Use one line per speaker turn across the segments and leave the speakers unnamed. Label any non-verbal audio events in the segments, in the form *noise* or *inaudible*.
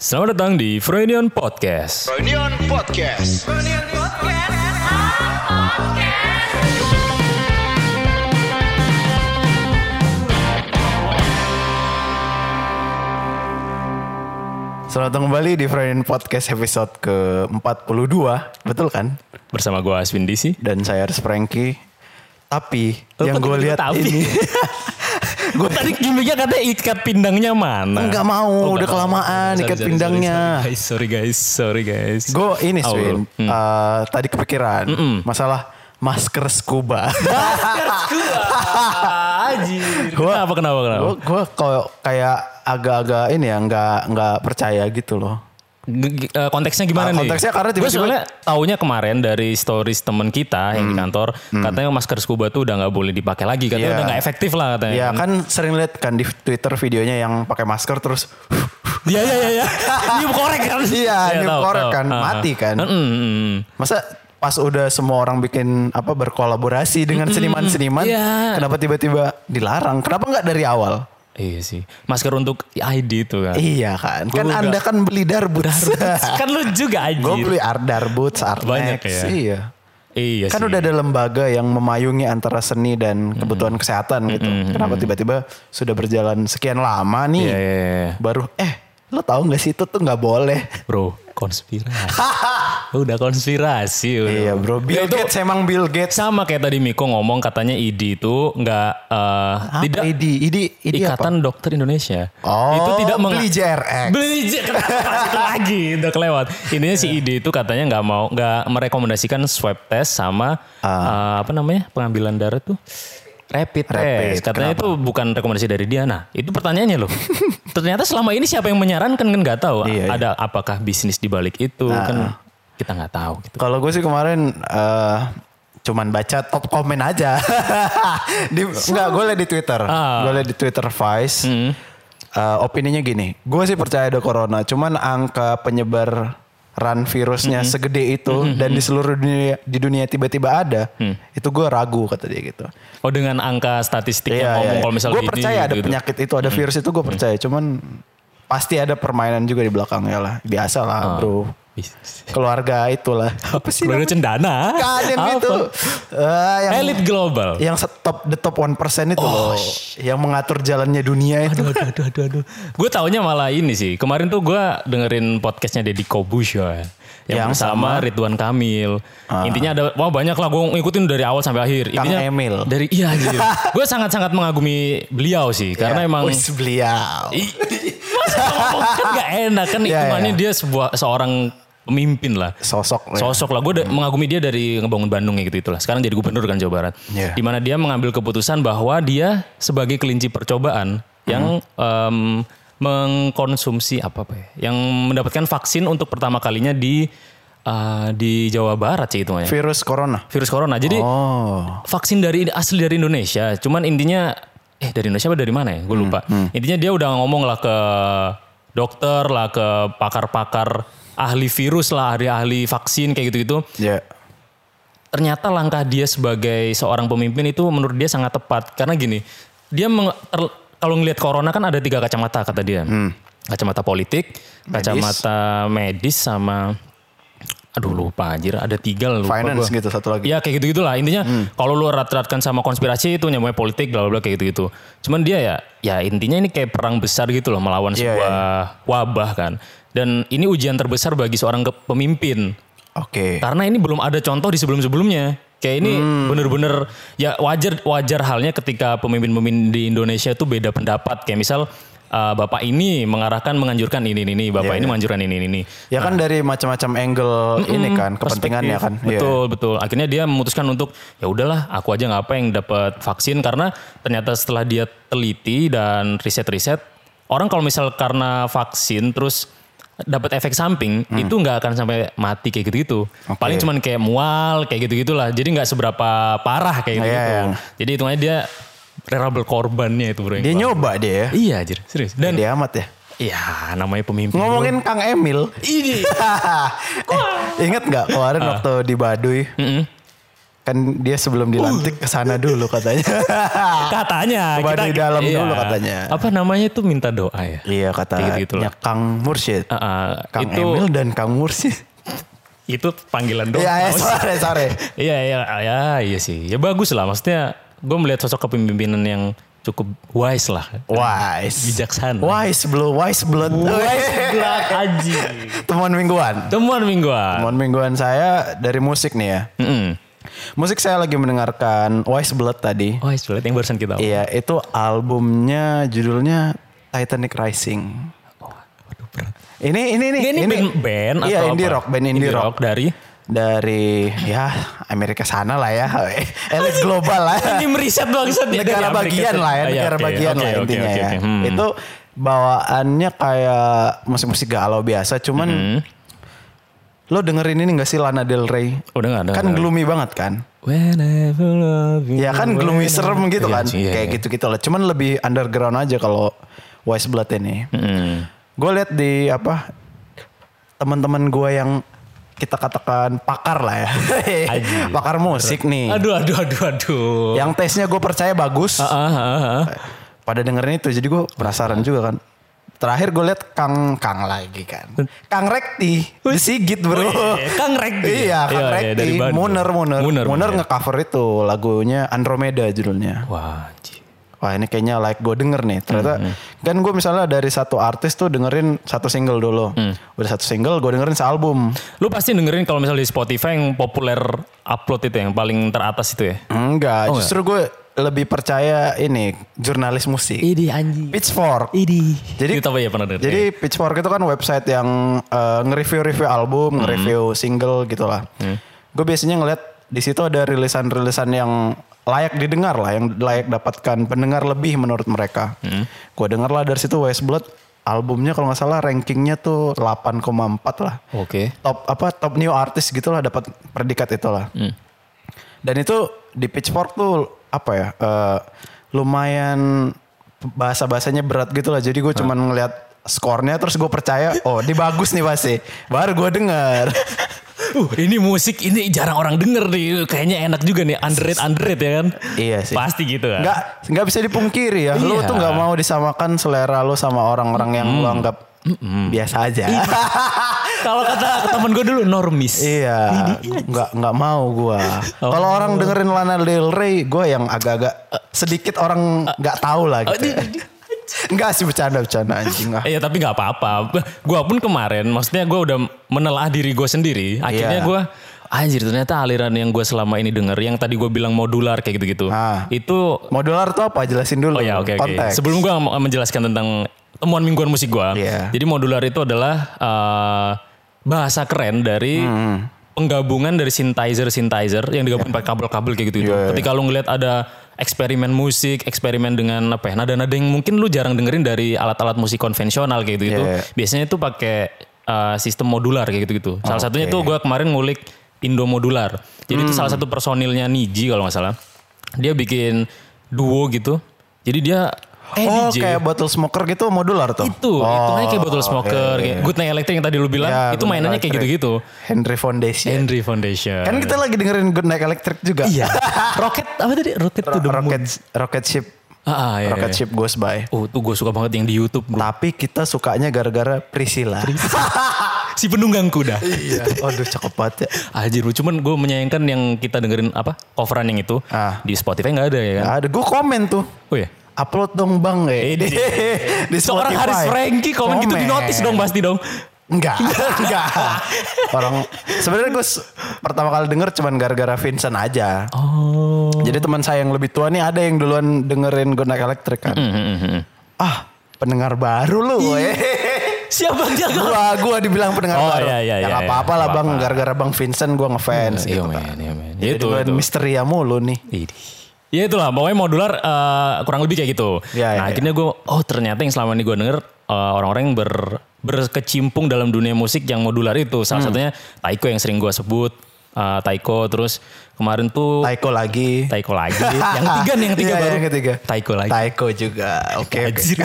Selamat datang di Freudian Podcast.
Reunion Podcast.
Selamat datang kembali di Friday Podcast episode ke-42. Betul kan?
Bersama gue Aswin Disi.
Dan saya Ars Franky. Tapi
Lo
yang
kok
gue
tiba-tiba
lihat
tapi?
*laughs*
*laughs*
ini
Gue tadi gimmicknya katanya ikat pindangnya mana? Oh,
Enggak mau,
enggak
udah
mau.
kelamaan
Sorry,
ikat
sorry,
pindangnya.
Sorry, sorry guys, sorry guys. Sorry, guys.
gue ini
Au,
Swin,
lu. Hmm.
eh, tadi kepikiran masalah masker
*laughs*
scuba.
Ah, Anjir. Kenapa kenapa kenapa?
gue kalau kayak agak-agak ini ya nggak nggak percaya gitu loh.
G- g- eh, konteksnya gimana
Ah,
nih?
konteksnya karena
Gua
tiba-tiba-
soalnya taunya kemarin dari stories temen kita yang di kantor katanya masker scuba tuh udah nggak boleh dipakai lagi katanya
Hmm. Iya.
udah nggak efektif lah katanya.
Ya kan sering lihat kan di Twitter videonya yang pakai masker terus
Iya iya
*laughs*
iya. Ini korek kan?
Iya,
Iya,
new
tahu,
correct
tahu.
kan,
Ah, ah.
mati kan.
Mm, mm, mm.
Masa pas udah semua orang bikin apa berkolaborasi dengan seniman-seniman,
iya.
kenapa tiba-tiba dilarang? Kenapa nggak dari awal?
Iya sih. Masker untuk ID itu kan.
Iya kan, kan
Gua
anda
nggak-
kan beli darbuts.
*laughs*
*laughs*
kan lu juga anjir.
Gue beli ar- darbuts,
Banyak
arnex,
ya.
iya.
Iya sih.
Kan udah ada lembaga yang memayungi antara seni dan kebutuhan kesehatan gitu. Kenapa tiba-tiba sudah berjalan sekian lama nih,
Iya, iya, iya.
baru eh lo tahu nggak sih itu tuh nggak boleh.
Bro, konspirasi.
*laughs*
udah konspirasi. udah.
Iya bro,
Ya,
Bill
itu
Gates emang Bill Gates.
sama kayak tadi Miko ngomong katanya ID itu nggak eh,
Apa
tidak
Idi? Idi, Idi apa?
Ikatan Dokter Indonesia.
Oh,
itu tidak meng-
beli JRX.
Beli J- *laughs* kenapa itu lagi udah kelewat. Intinya si
Iya.
ID itu katanya nggak mau nggak merekomendasikan swab test sama eh,
Ah.
apa namanya? pengambilan darah tuh rapid, test.
Rapid,
Katanya itu bukan rekomendasi dari dia. Nah, itu pertanyaannya
*laughs*
loh. Ternyata selama ini siapa yang menyarankan kan nggak tahu.
Iya, Ah. iya.
Ada apakah bisnis di balik itu kan kita nggak tahu gitu.
Kalau gue sih kemarin eh, cuman baca top komen aja. *laughs* di, enggak, gue liat di Twitter.
Ah. Hmm.
Gue liat di Twitter Vice. Eh, opininya gini, gue sih percaya ada corona, cuman angka penyebar run virusnya
Hmm.
segede itu dan di seluruh dunia di dunia tiba-tiba ada,
Hmm.
itu gue ragu kata dia gitu. Iya,
Oh dengan angka statistik yang ngomong kalau misalnya gitu.
Gue percaya ada penyakit itu,
Hmm.
ada virus itu gue percaya, cuman pasti ada permainan juga di belakangnya lah, biasa lah bro. Keluarga itulah. Apa sih
Ah. Keluarga
namanya?
cendana.
Bukan yang
Ah,
gitu.
Apa?
itu. Eh, yang Iya.
Elit global.
yang stop the top 1% itu loh. Yang mengatur jalannya dunia itu.
Aduh, aduh, aduh, aduh. Gue taunya malah ini sih. Kemarin tuh gue dengerin podcastnya Deddy Kobusya. Yang,
Yang Ah.
bersama Ridwan Kamil. Intinya ada, wah banyak lah gue ngikutin dari awal sampai akhir.
Kang
Intinya
Emil.
Dari,
*laughs*
iya anjir. gue sangat-sangat mengagumi beliau sih.
Iya.
Karena emang...
Ya, Wis beliau.
Ih, *laughs* masa ngomong kan gak enak kan
Iya,
hitungannya
iya.
dia sebuah seorang pemimpin lah.
Sosok. lah ya.
Sosok lah, gue da- mengagumi dia dari ngebangun Bandung ya gitu itulah. Sekarang jadi gubernur kan Jawa Barat.
Iya.
Dimana dia mengambil keputusan bahwa dia sebagai kelinci percobaan yang em,
Hmm.
mengkonsumsi apa apa ya, yang mendapatkan vaksin untuk pertama kalinya di eh, di Jawa Barat sih hitungannya.
Virus corona.
Virus corona. Jadi
Oh.
vaksin dari asli dari Indonesia. Cuman intinya eh dari Indonesia apa dari mana ya? Gue
Hmm,
lupa. Intinya dia udah ngomong lah ke dokter lah ke pakar-pakar ahli virus lah, ahli-ahli vaksin kayak gitu-gitu.
Ya.
Ternyata langkah dia sebagai seorang pemimpin itu menurut dia sangat tepat karena gini, dia meng- ter- kalau ngelihat corona kan ada tiga kacamata kata dia.
Hmm.
Kacamata politik, kacamata medis sama aduh lupa anjir ada tiga lupa
Finance
gua.
Hmm. gitu satu lagi.
Ya kayak gitu-gitulah intinya kalau lu erat-eratkan sama konspirasi itu nyambungnya politik bla bla bla kayak gitu-gitu. Cuman dia ya ya intinya ini kayak perang besar gitu loh melawan
Iya,
sebuah wabah kan. Dan ini ujian terbesar bagi seorang ke- pemimpin
Oke.
karena ini belum ada contoh di sebelum-sebelumnya. Kayak ini bener-bener ya wajar wajar halnya ketika pemimpin-pemimpin di Indonesia tuh beda pendapat. Kayak misal uh, bapak ini mengarahkan menganjurkan ini ini ini, bapak ini menganjurkan ini ini ini.
Ya
Ah.
kan dari macam-macam angle ini kan kepentingannya kan. Iya.
Betul, betul. Akhirnya dia memutuskan untuk ya udahlah, aku aja nggak apa yang dapat vaksin karena ternyata setelah dia teliti dan riset-riset, orang kalau misal karena vaksin terus dapat efek samping
Hmm.
itu nggak akan sampai mati kayak gitu-gitu. Paling cuman kayak mual kayak gitu-gitulah. Jadi nggak seberapa parah kayak gitu.
Iya,
Jadi hitungannya dia rela korbannya itu bro. yang
Dia
keluar.
nyoba dia ya.
Iya, anjir, serius. Dan
Dia amat ya.
iya, namanya pemimpin.
Ngomongin Kang Emil. *laughs*
ini Ah.
eh, ingat nggak kemarin waktu di Baduy? Kan dia sebelum dilantik
Uh.
ke sana dulu katanya.
*laughs* Katanya
Ah,
Iya.
Coba di dalam dulu katanya.
Apa namanya itu minta doa ya?
iya katanya
Gitu-gitu lah.
Kang Mursyid.
Ah, ah,
Kang
itu
Emil dan Kang
*laughs*
Mursyid.
itu panggilan doa. Oh,
Iya, ya, sore, sore.
*laughs* Iya iya iya iya sih. Ya bagus lah maksudnya gue melihat sosok kepemimpinan yang cukup wise lah.
Wise.
Bijaksana.
Wise blood, wise blood.
Wise blood aji.
*laughs* Temuan mingguan.
Temuan mingguan.
Temuan mingguan saya dari musik nih ya.
Mm-mm.
Musik saya lagi mendengarkan Wise Blood tadi.
Wise blood yang barusan kita.
Iya, itu albumnya judulnya Titanic Rising.
Oh, Waduh, berat.
Ini ini nih,
Ini, ini band, band
iya,
atau
indie
apa?
rock, band indie, rock.
dari
dari ya Amerika sana lah ya, *laughs* elit global lah.
ini meriset bangsat ya, dari
negara
Amerika
bagian
Serikat.
lah ya,
Ah, iya,
negara
oke,
bagian
oke,
lah
oke,
intinya
oke,
ya.
oke. Hmm.
Itu bawaannya kayak musik-musik galau biasa, cuman
Hmm.
lo dengerin ini gak sih Lana Del Rey?
Oh, dengar, dengar,
kan
dengar.
gloomy banget kan?
Whenever love you,
Ya kan gloomy
whenever-
serem gitu
Iya
kan,
sih, iya,
kayak
iya.
gitu-gitu lah. Cuman lebih underground aja kalau Wise Blood ini.
Mm-mm.
Gue lihat di apa teman-teman gue yang kita katakan pakar lah ya,
Aji.
*laughs* pakar musik nih.
Aduh aduh aduh aduh.
Yang tesnya gue percaya bagus.
Ah, ah, ah.
pada dengerin itu jadi gue penasaran juga kan terakhir gue liat Kang Kang lagi kan Kang Rekti di Sigit bro
Hmm. Wih, Kang Rekti.
iya
Iya,
Kang
iya,
Rekti
dari Bandung.
Muner Muner
Muner,
Muner,
Muner.
ngecover itu lagunya Andromeda judulnya
Wah, anjir.
wah ini kayaknya like gue denger nih ternyata
Hmm,
kan gue misalnya dari satu artis tuh dengerin satu single dulu
Hmm.
udah satu single gue dengerin sealbum
Lu pasti dengerin kalau misalnya di Spotify yang populer upload itu yang paling teratas itu ya.
enggak justru gue lebih percaya ini jurnalis musik
Idi anjing.
Pitchfork
Idi.
Jadi-
Itu apa ya pernah denger?
Jadi Pitchfork itu kan website yang eh, nge-review-review album, nge-review single gitu lah. Gue biasanya ngeliat di situ ada rilisan-rilisan yang layak didengar lah, yang layak dapatkan pendengar lebih menurut mereka. Gue denger lah dari situ Westblood albumnya kalau nggak salah rankingnya tuh 8,4 lah.
Oke.
Top apa top new artist gitulah dapat predikat itulah. Dan itu di Pitchfork tuh apa ya? eh, lumayan bahasa bahasanya berat gitu lah. Jadi gue cuman ngeliat skornya terus gue percaya oh ini bagus nih pasti baru gue denger
Uh, ini musik ini jarang orang denger nih. Kayaknya enak juga nih underrated underrated ya kan?
Iya sih.
Pasti gitu kan.
nggak nggak bisa dipungkiri ya lu
Iya.
tuh nggak mau disamakan selera lu sama orang-orang yang lu anggap biasa aja
Kalau kata temen gue dulu normis.
iya nggak nggak mau
*laughs*
gue
Oh.
kalau orang dengerin Lana Del Rey gue yang agak-agak eh, sedikit orang nggak tahu lah
Oh,
gitu
di- *laughs*
ya.
di-
Enggak sih bercanda-bercanda anjing
*laughs*
ah.
Iya tapi nggak apa-apa. Gua pun kemarin, maksudnya gua udah menelaah diri gue sendiri. Akhirnya
Iya.
gua anjir ternyata aliran yang gue selama ini denger, yang tadi gue bilang modular kayak gitu-gitu,
Ah.
itu
Modular tuh apa? Jelasin
Oh
dulu.
ya oke oke.
Konteks.
Sebelum gue menjelaskan tentang temuan mingguan musik gue,
Iya.
jadi modular itu adalah eh, bahasa keren dari
Hmm,
penggabungan dari synthesizer synthesizer yang digabungin pakai kabel-kabel kayak gitu.
Iya,
gitu. Ketika lu ngeliat ada eksperimen musik, eksperimen dengan apa ya, nada-nada yang mungkin lu jarang dengerin dari alat-alat musik konvensional kayak gitu gitu.
Iya.
Biasanya itu pakai eh, sistem modular kayak gitu gitu. Salah satunya itu gue kemarin ngulik Indo Modular. Jadi itu
Hmm.
salah satu personilnya Niji kalau nggak salah. Dia bikin duo gitu. Jadi dia eh
oh
DJ.
kayak bottle smoker gitu modular tuh.
itu hitungannya kayak bottle smoker, kayak Good Night Electric yang tadi lu bilang,
Ya,
itu
Good Night
mainannya kayak
Electric.
gitu-gitu.
Henry Foundation.
Henry Foundation.
Kan kita lagi dengerin Good Night Electric juga.
Eh,
*laughs*
iya. Rocket apa tadi? Rocket to
Ro-
the moon.
rocket rocket ship
Ah, ah, iya,
rocket
iya.
ship goes by.
Oh, tuh gue suka banget yang di YouTube, bro.
Tapi kita sukanya gara-gara Priscilla.
Si penunggang kuda.
*laughs* iya. Aduh cakep banget ya.
Anjir, bro. cuman gue menyayangkan yang kita dengerin apa coveran yang itu
Ah.
di Spotify nggak ada ya kan?
Nah, ada gue komen tuh.
Oh ya.
Upload dong bang eh.
Ini.
*laughs* di
Seorang
Spotify.
Haris Franky komen, gitu di notice dong pasti dong.
Enggak, *laughs* enggak. Orang sebenarnya gue s- pertama kali denger cuman gara-gara Vincent aja.
Oh.
Jadi teman saya yang lebih tua nih ada yang duluan dengerin Good Night Electric kan.
Hmm,
Ah, pendengar baru lu.
*laughs*
eh.
Siapa
Nah,
dia?
gua gua dibilang pendengar
Oh,
baru.
iya, iya,
ya
iya,
nggak
iya.
apa-apa lah
Nggak
Bang,
apa-apa.
gara-gara Bang Vincent gua ngefans
Iya
gitu kan.
men, iya men.
Jadi
Itu
gua
itu.
misteri ya mulu nih.
Ini. Ya itulah, pokoknya modular eh, kurang lebih kayak gitu.
Ya, ya,
nah
ya.
akhirnya gue, oh ternyata yang selama ini gue denger eh, orang-orang yang ber, berkecimpung dalam dunia musik yang modular itu.
Hmm.
Salah satunya Taiko yang sering gue sebut. eh, Taiko terus kemarin tuh
Taiko lagi.
Oh. Taiko
*laughs*
lagi. yang tiga nih, yang tiga
Iya,
baru.
Yang ketiga.
Taiko
*laughs*
lagi.
Taiko juga. Oke. oke.
Anjir.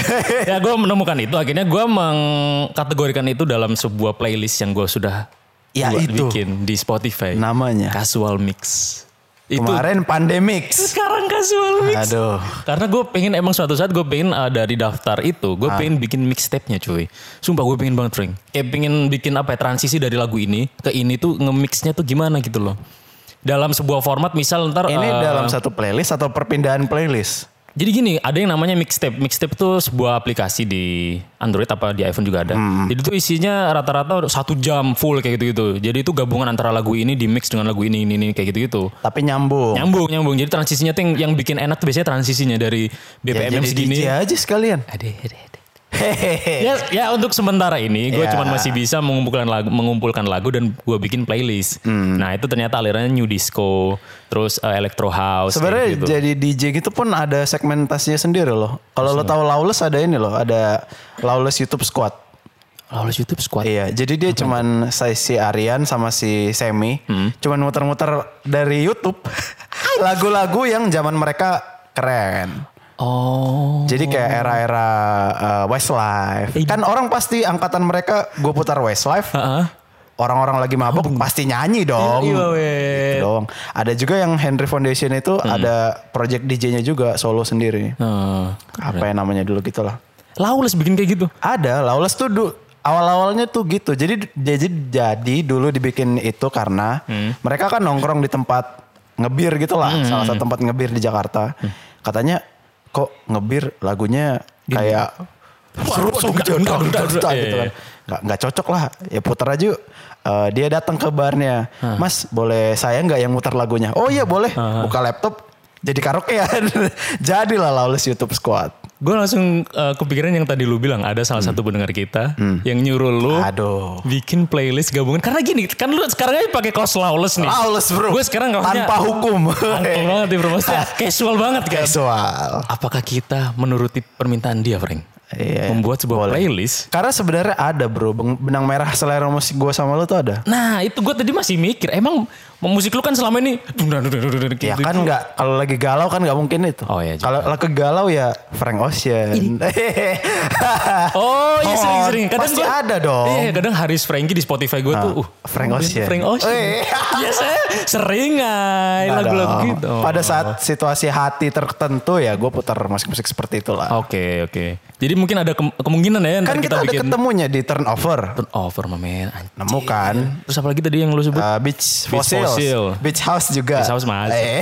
ya gue menemukan itu akhirnya gue mengkategorikan itu dalam sebuah playlist yang gue sudah
Ya,
buat-
itu.
bikin di Spotify
*laughs* Namanya.
casual mix Itu.
Kemarin pandemix.
Sekarang casual mix.
Aduh.
Karena gue pengen emang suatu saat gue pengen uh, dari daftar itu
Ah.
gue pengen bikin mixtape-nya cuy. Sumpah gue pengen banget Frank. Kayak pengen bikin apa ya transisi dari lagu ini ke ini tuh nge-mixnya tuh gimana gitu loh. Dalam sebuah format misal ntar
Ini
uh,
dalam satu playlist atau perpindahan playlist?
Jadi gini, ada yang namanya mixtape. Mixtape itu sebuah aplikasi di Android apa di iPhone juga ada.
Hmm,
Jadi itu isinya rata-rata satu jam full kayak gitu-gitu. Jadi itu gabungan antara lagu ini di mix dengan lagu ini ini, ini kayak gitu-gitu.
Tapi nyambung.
Nyambung, nyambung. Jadi transisinya tuh yang, yang bikin enak tuh biasanya transisinya dari
Ya,
BPM yang
jadi
segini.
DJ aja sekalian.
Adeh, adeh, adeh.
Hehehe.
Ya, ya untuk sementara ini gue
Ya.
cuman masih bisa mengumpulkan lagu, mengumpulkan lagu dan gue bikin playlist.
Hmm.
Nah itu ternyata alirannya new disco, terus eh, electro house. kayak
Sebenarnya
gitu.
jadi DJ gitu pun ada segmentasinya sendiri loh. Kalau lo tahu Lawless ada ini loh, ada Lawless YouTube Squad.
Lalu YouTube squad.
Iya, jadi dia cuman si, si Aryan sama si Semi
Hmm.
cuman muter-muter dari YouTube lagu-lagu yang zaman mereka keren.
Oh. Iya.
Jadi kayak era-era uh, Westlife. Kan orang pasti angkatan mereka gue putar Westlife.
Heeh.
Orang-orang lagi mabuk pasti nyanyi
Oh.
dong.
Iya, weh.
Gitu dong. Ada juga yang Henry Foundation itu
Hmm.
ada project DJ-nya juga solo sendiri.
Heeh.
Apa yang namanya dulu gitu lah.
Lawless bikin kayak gitu.
Ada, Lawless tuh du- awal-awalnya tuh gitu. Jadi jadi jadi dulu dibikin itu karena mereka kan nongkrong di tempat ngebir gitu lah, salah satu tempat ngebir di Jakarta. Katanya kok ngebir lagunya kayak seru gitu
enggak, enggak, enggak,
kan. Nggak, nggak cocok lah. Ya putar aja yuk. Eh, dia datang ke barnya. Mas, boleh saya nggak yang mutar lagunya? Oh iya boleh. Buka laptop jadi karaokean. *laughs* Jadilah Lawless YouTube Squad.
Gue langsung eh, kepikiran yang tadi lu bilang ada salah satu pendengar kita yang nyuruh lu
Hmm. Aduh.
bikin playlist gabungan. Karena gini, kan lu sekarang aja pakai kaos lawless nih.
Lawless bro.
Gue sekarang nggak punya-
tanpa hukum.
Uncle
*laughs*
banget ya bro, maksudnya casual banget kan.
Casual.
Apakah kita menuruti permintaan dia, Frank?
Iya.
Membuat sebuah playlist.
Karena sebenarnya ada bro, beng- benang merah selera musik gue sama lu tuh ada.
Nah, itu gue tadi masih mikir. Emang musik lu kan selama ini dung, dung, dung, dung, dung, dung,
Ya
gitu.
kan nggak, kalau lagi galau kan nggak mungkin itu.
Oh, iya juga.
Kalau lagi galau ya Frank Ocean. *laughs*
Oh iya
Oh,
sering-sering. Kadang
pasti
gua-
ada dong. Ah,
Iya kadang Haris Frankie di Spotify gue tuh. Uh,
Frank
ben-
Ocean.
Frank Ocean.
Eh.
*laughs* Iya saya sering ay,
Nggak
lagu-lagu
dong.
gitu.
Pada saat situasi hati tertentu ya gue putar musik-musik seperti itulah.
Oke oke. Jadi mungkin ada kem- kemungkinan ya ntar
kan kita,
Oh, kita,
ada
bikin
ketemunya di turnover.
turn over mamen. anjing.
Nemu kan.
Terus apalagi tadi yang lu sebut?
Uh, beach,
Beach
fossils.
Fossil.
Beach house juga.
Beach House masuk.
Eh.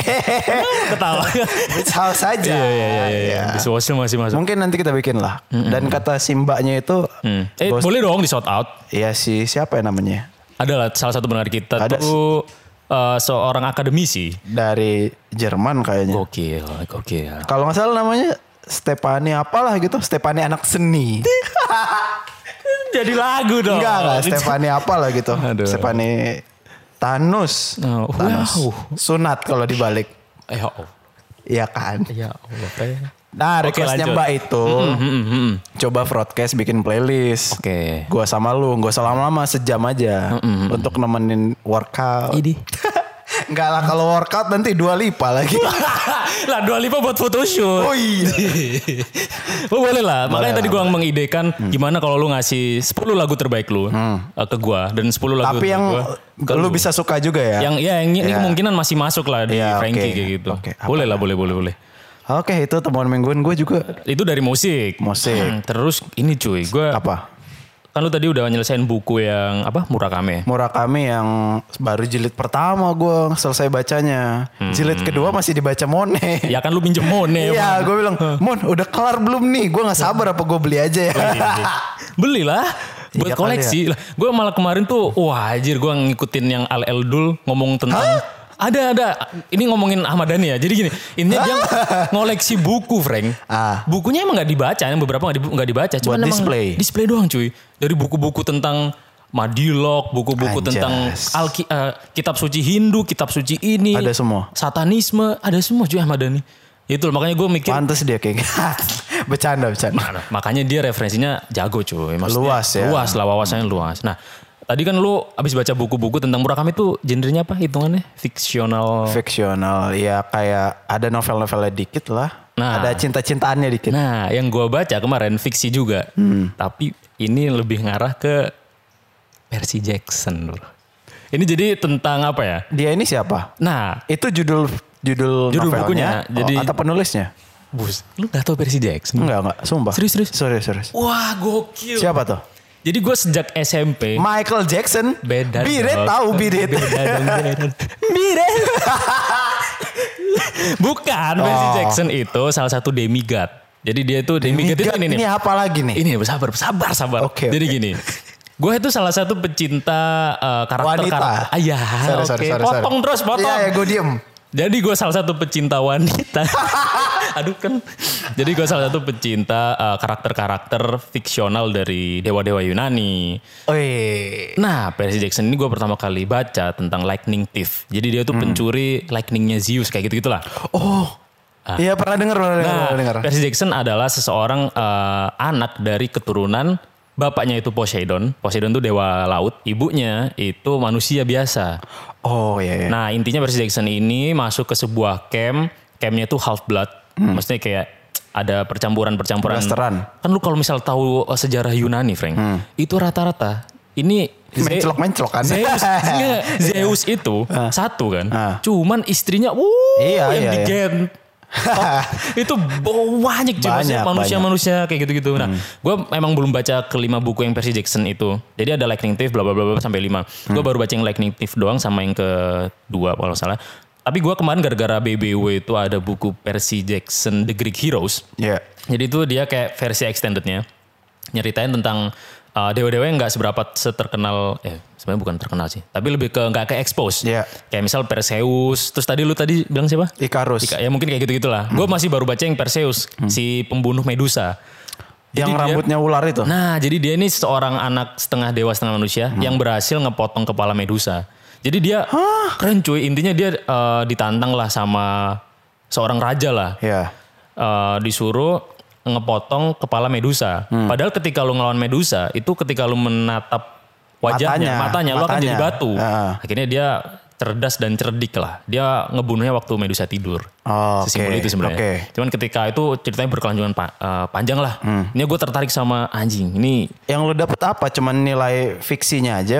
*laughs* Ketawa.
*laughs* Beach house aja.
Iya iya iya. iya. Di Swastil masih masuk.
Mungkin nanti kita bikin lah. Dan kata simbaknya itu,
Hmm. Eh
Bos-
boleh dong di shout out.
ya si siapa ya namanya?
Adalah salah satu pendengar kita
Ada.
tuh eh, seorang akademisi.
Dari Jerman kayaknya.
Gokil, gokil.
Kalau nggak salah namanya Stepani apalah gitu. Stepani anak seni. Kan
Jadi lagu dong.
Enggak enggak. Stepani apalah gitu.
Aduh.
Stepani Thanos.
Oh,
Thanos.
wow.
Sunat kalau dibalik.
Eh, ya Allah.
Iya kan.
Ya Allah. kayak-
Nah
Oke,
requestnya
lanjut.
mbak itu.
hmm,
Coba broadcast bikin playlist.
Oke.
Gua sama lu, gak usah lama-lama sejam aja untuk nemenin workout. *laughs*
Idih.
Enggak lah kalau workout nanti dua lipa lagi.
*laughs* lah Dua Lipa buat photoshoot.
Oh iya.
*laughs* Oh, boleh lah. Makanya tadi gua mengidekan
Hmm.
gimana kalau lu ngasih 10 lagu terbaik lu eh, ke gua dan 10 lagu
Tapi yang
gua ke
lu bisa suka juga ya.
yang ya yang ini
Ya.
kemungkinan masih masuk lah di
Ya,
Frankie
oke.
kayak gitu.
Oke, apa-
boleh lah, boleh, boleh, boleh.
Oke itu temuan mingguan gue juga.
Itu dari musik. Hmm,
Musik.
Terus ini cuy, gua
Apa?
kan lu tadi udah nyelesain buku yang apa? Murakame.
Murakami yang baru jilid pertama gue selesai bacanya. Jilid kedua masih dibaca Mone.
Hmm. Ya kan lu minjem Mone.
*laughs* Iya, gue bilang, Mon udah kelar belum nih? Gue gak sabar apa gue beli
Oh,
aja ya.
iya, Belilah buat
Iya kali
koleksi. Lah, gue malah kemarin tuh wah anjir gue ngikutin yang Al Eldul ngomong tentang ada ada ini ngomongin Ahmad Dhani ya. Jadi gini, intinya dia ngoleksi buku, Frank.
Ah.
Bukunya emang nggak dibaca, yang beberapa nggak dibu- nggak dibaca, cuma
Buat display.
Display doang, cuy. Dari buku-buku tentang Madilok, buku-buku
Anjas.
tentang Alki- eh, kitab suci Hindu, kitab suci ini.
Ada semua.
Satanisme, ada semua cuy Ahmad Dhani. Itu loh, makanya gue mikir
*laughs* Pantes dia kayak *laughs* Bercanda, bercanda.
Nah, makanya dia referensinya jago cuy. Maksudnya,
Luas ya.
Luas lah wawasannya luas. Nah tadi kan lu abis baca buku-buku tentang Murakami itu genrenya apa hitungannya? Fiksional.
Fiksional, ya kayak ada novel-novelnya dikit lah.
Nah.
Ada cinta-cintaannya dikit.
Nah yang gua baca kemarin fiksi juga.
Hmm.
Tapi ini lebih ngarah ke versi Jackson bro. Ini jadi tentang apa ya?
Dia ini siapa?
Nah,
Itu judul judul,
Judul
novelnya Oh,
bukunya, jadi-
atau penulisnya?
bus, lu gak tau Percy Jackson?
Enggak, enggak. Sumpah.
Serius, serius?
Serius, serius.
Wah, gokil.
Siapa tuh?
Jadi gue sejak SMP *laughs*
Michael Jackson.
beda.
Bidet
dong.
tahu bidet.
Beda dong, beda. Bidet. Bukan, Percy
Oh.
Jackson itu salah satu demigod. Jadi dia itu demigod, itu
Ini,
ini nih.
ini apa lagi nih?
Ini sabar, sabar, sabar.
Oke,
Jadi
oke.
gini. Gue itu salah satu pecinta eh, karakter
Wanita.
karakter. Ayah,
Sorry, sorry, sorry, sorry.
iya. potong terus, potong.
Iya, ya, gue diem.
Jadi gue salah satu pecinta
*laughs*
wanita. Aduh kan. Jadi gue salah satu pecinta eh, karakter-karakter fiksional dari dewa-dewa Yunani.
Wih.
Nah, Percy Jackson ini gue pertama kali baca tentang Lightning Thief. Jadi dia
Hmm.
tuh pencuri lightningnya Zeus kayak gitu gitulah.
Oh. Iya pernah dengar, pernah dengar,
Ah. Nah,
pernah dengar.
Percy Jackson adalah seseorang eh, anak dari keturunan bapaknya itu Poseidon. Poseidon tuh dewa laut, ibunya itu manusia biasa.
Oh iya, iya.
Nah intinya Percy Jackson ini masuk ke sebuah camp, campnya itu half blood, maksudnya kayak ada percampuran-percampuran.
Hmm. Blasteran.
Kan lu kalau misal tahu eh, sejarah Yunani, Frank, itu rata-rata ini Ze-
Mencelok-mencelok kan? *laughs*
Zeus, enggak, Zeus itu satu kan,
Ah.
cuman istrinya, wuh,
Iya,
yang
iya,
di
iya. *laughs*
Ghent. Oh, itu banyak cuy Maksudnya
Banyak, Hmm.
manusia-manusia kayak gitu-gitu. Nah, gue emang belum baca kelima buku yang versi Jackson itu. Jadi ada Lightning Thief bla bla bla bla, sampai lima.
Hmm.
Gue baru baca yang Lightning Thief doang sama yang kedua kalau nggak salah. Tapi gue kemarin gara-gara BBW itu ada buku versi Jackson The Greek Heroes.
Iya.
Jadi itu dia kayak versi extendednya nyeritain tentang uh, dewa-dewa yang nggak seberapa seterkenal eh sebenarnya bukan terkenal sih tapi lebih ke nggak ke expose
Iya.
kayak misal Perseus terus tadi lu tadi bilang siapa
Ikarus.
Ika- ya mungkin kayak gitu gitulah gue masih baru baca yang Perseus si pembunuh Medusa
Hmm. Yang
Jadi dia-
rambutnya ular itu. Hmm.
Nah, jadi dia ini seorang anak setengah dewa setengah manusia yang berhasil ngepotong kepala medusa. Jadi dia keren cuy. Intinya dia eh, ditantang lah sama seorang raja lah.
Iya.
Eh, disuruh ngepotong kepala medusa.
Hmm.
Padahal ketika lu ngelawan medusa itu ketika lu menatap wajahnya, matanya,
Matanya,
lu akan
matanya. Ah.
jadi batu.
Heeh.
Akhirnya dia cerdas dan cerdik lah. Dia ngebunuhnya waktu medusa tidur.
Oh,
Sesimpel
oke,
itu sebenarnya.
oke.
Cuman ketika itu ceritanya berkelanjutan pa- eh, panjang lah.
Hmm.
Ini gue tertarik sama anjing. Ini
Yang lu dapet apa? Cuman nilai fiksinya aja,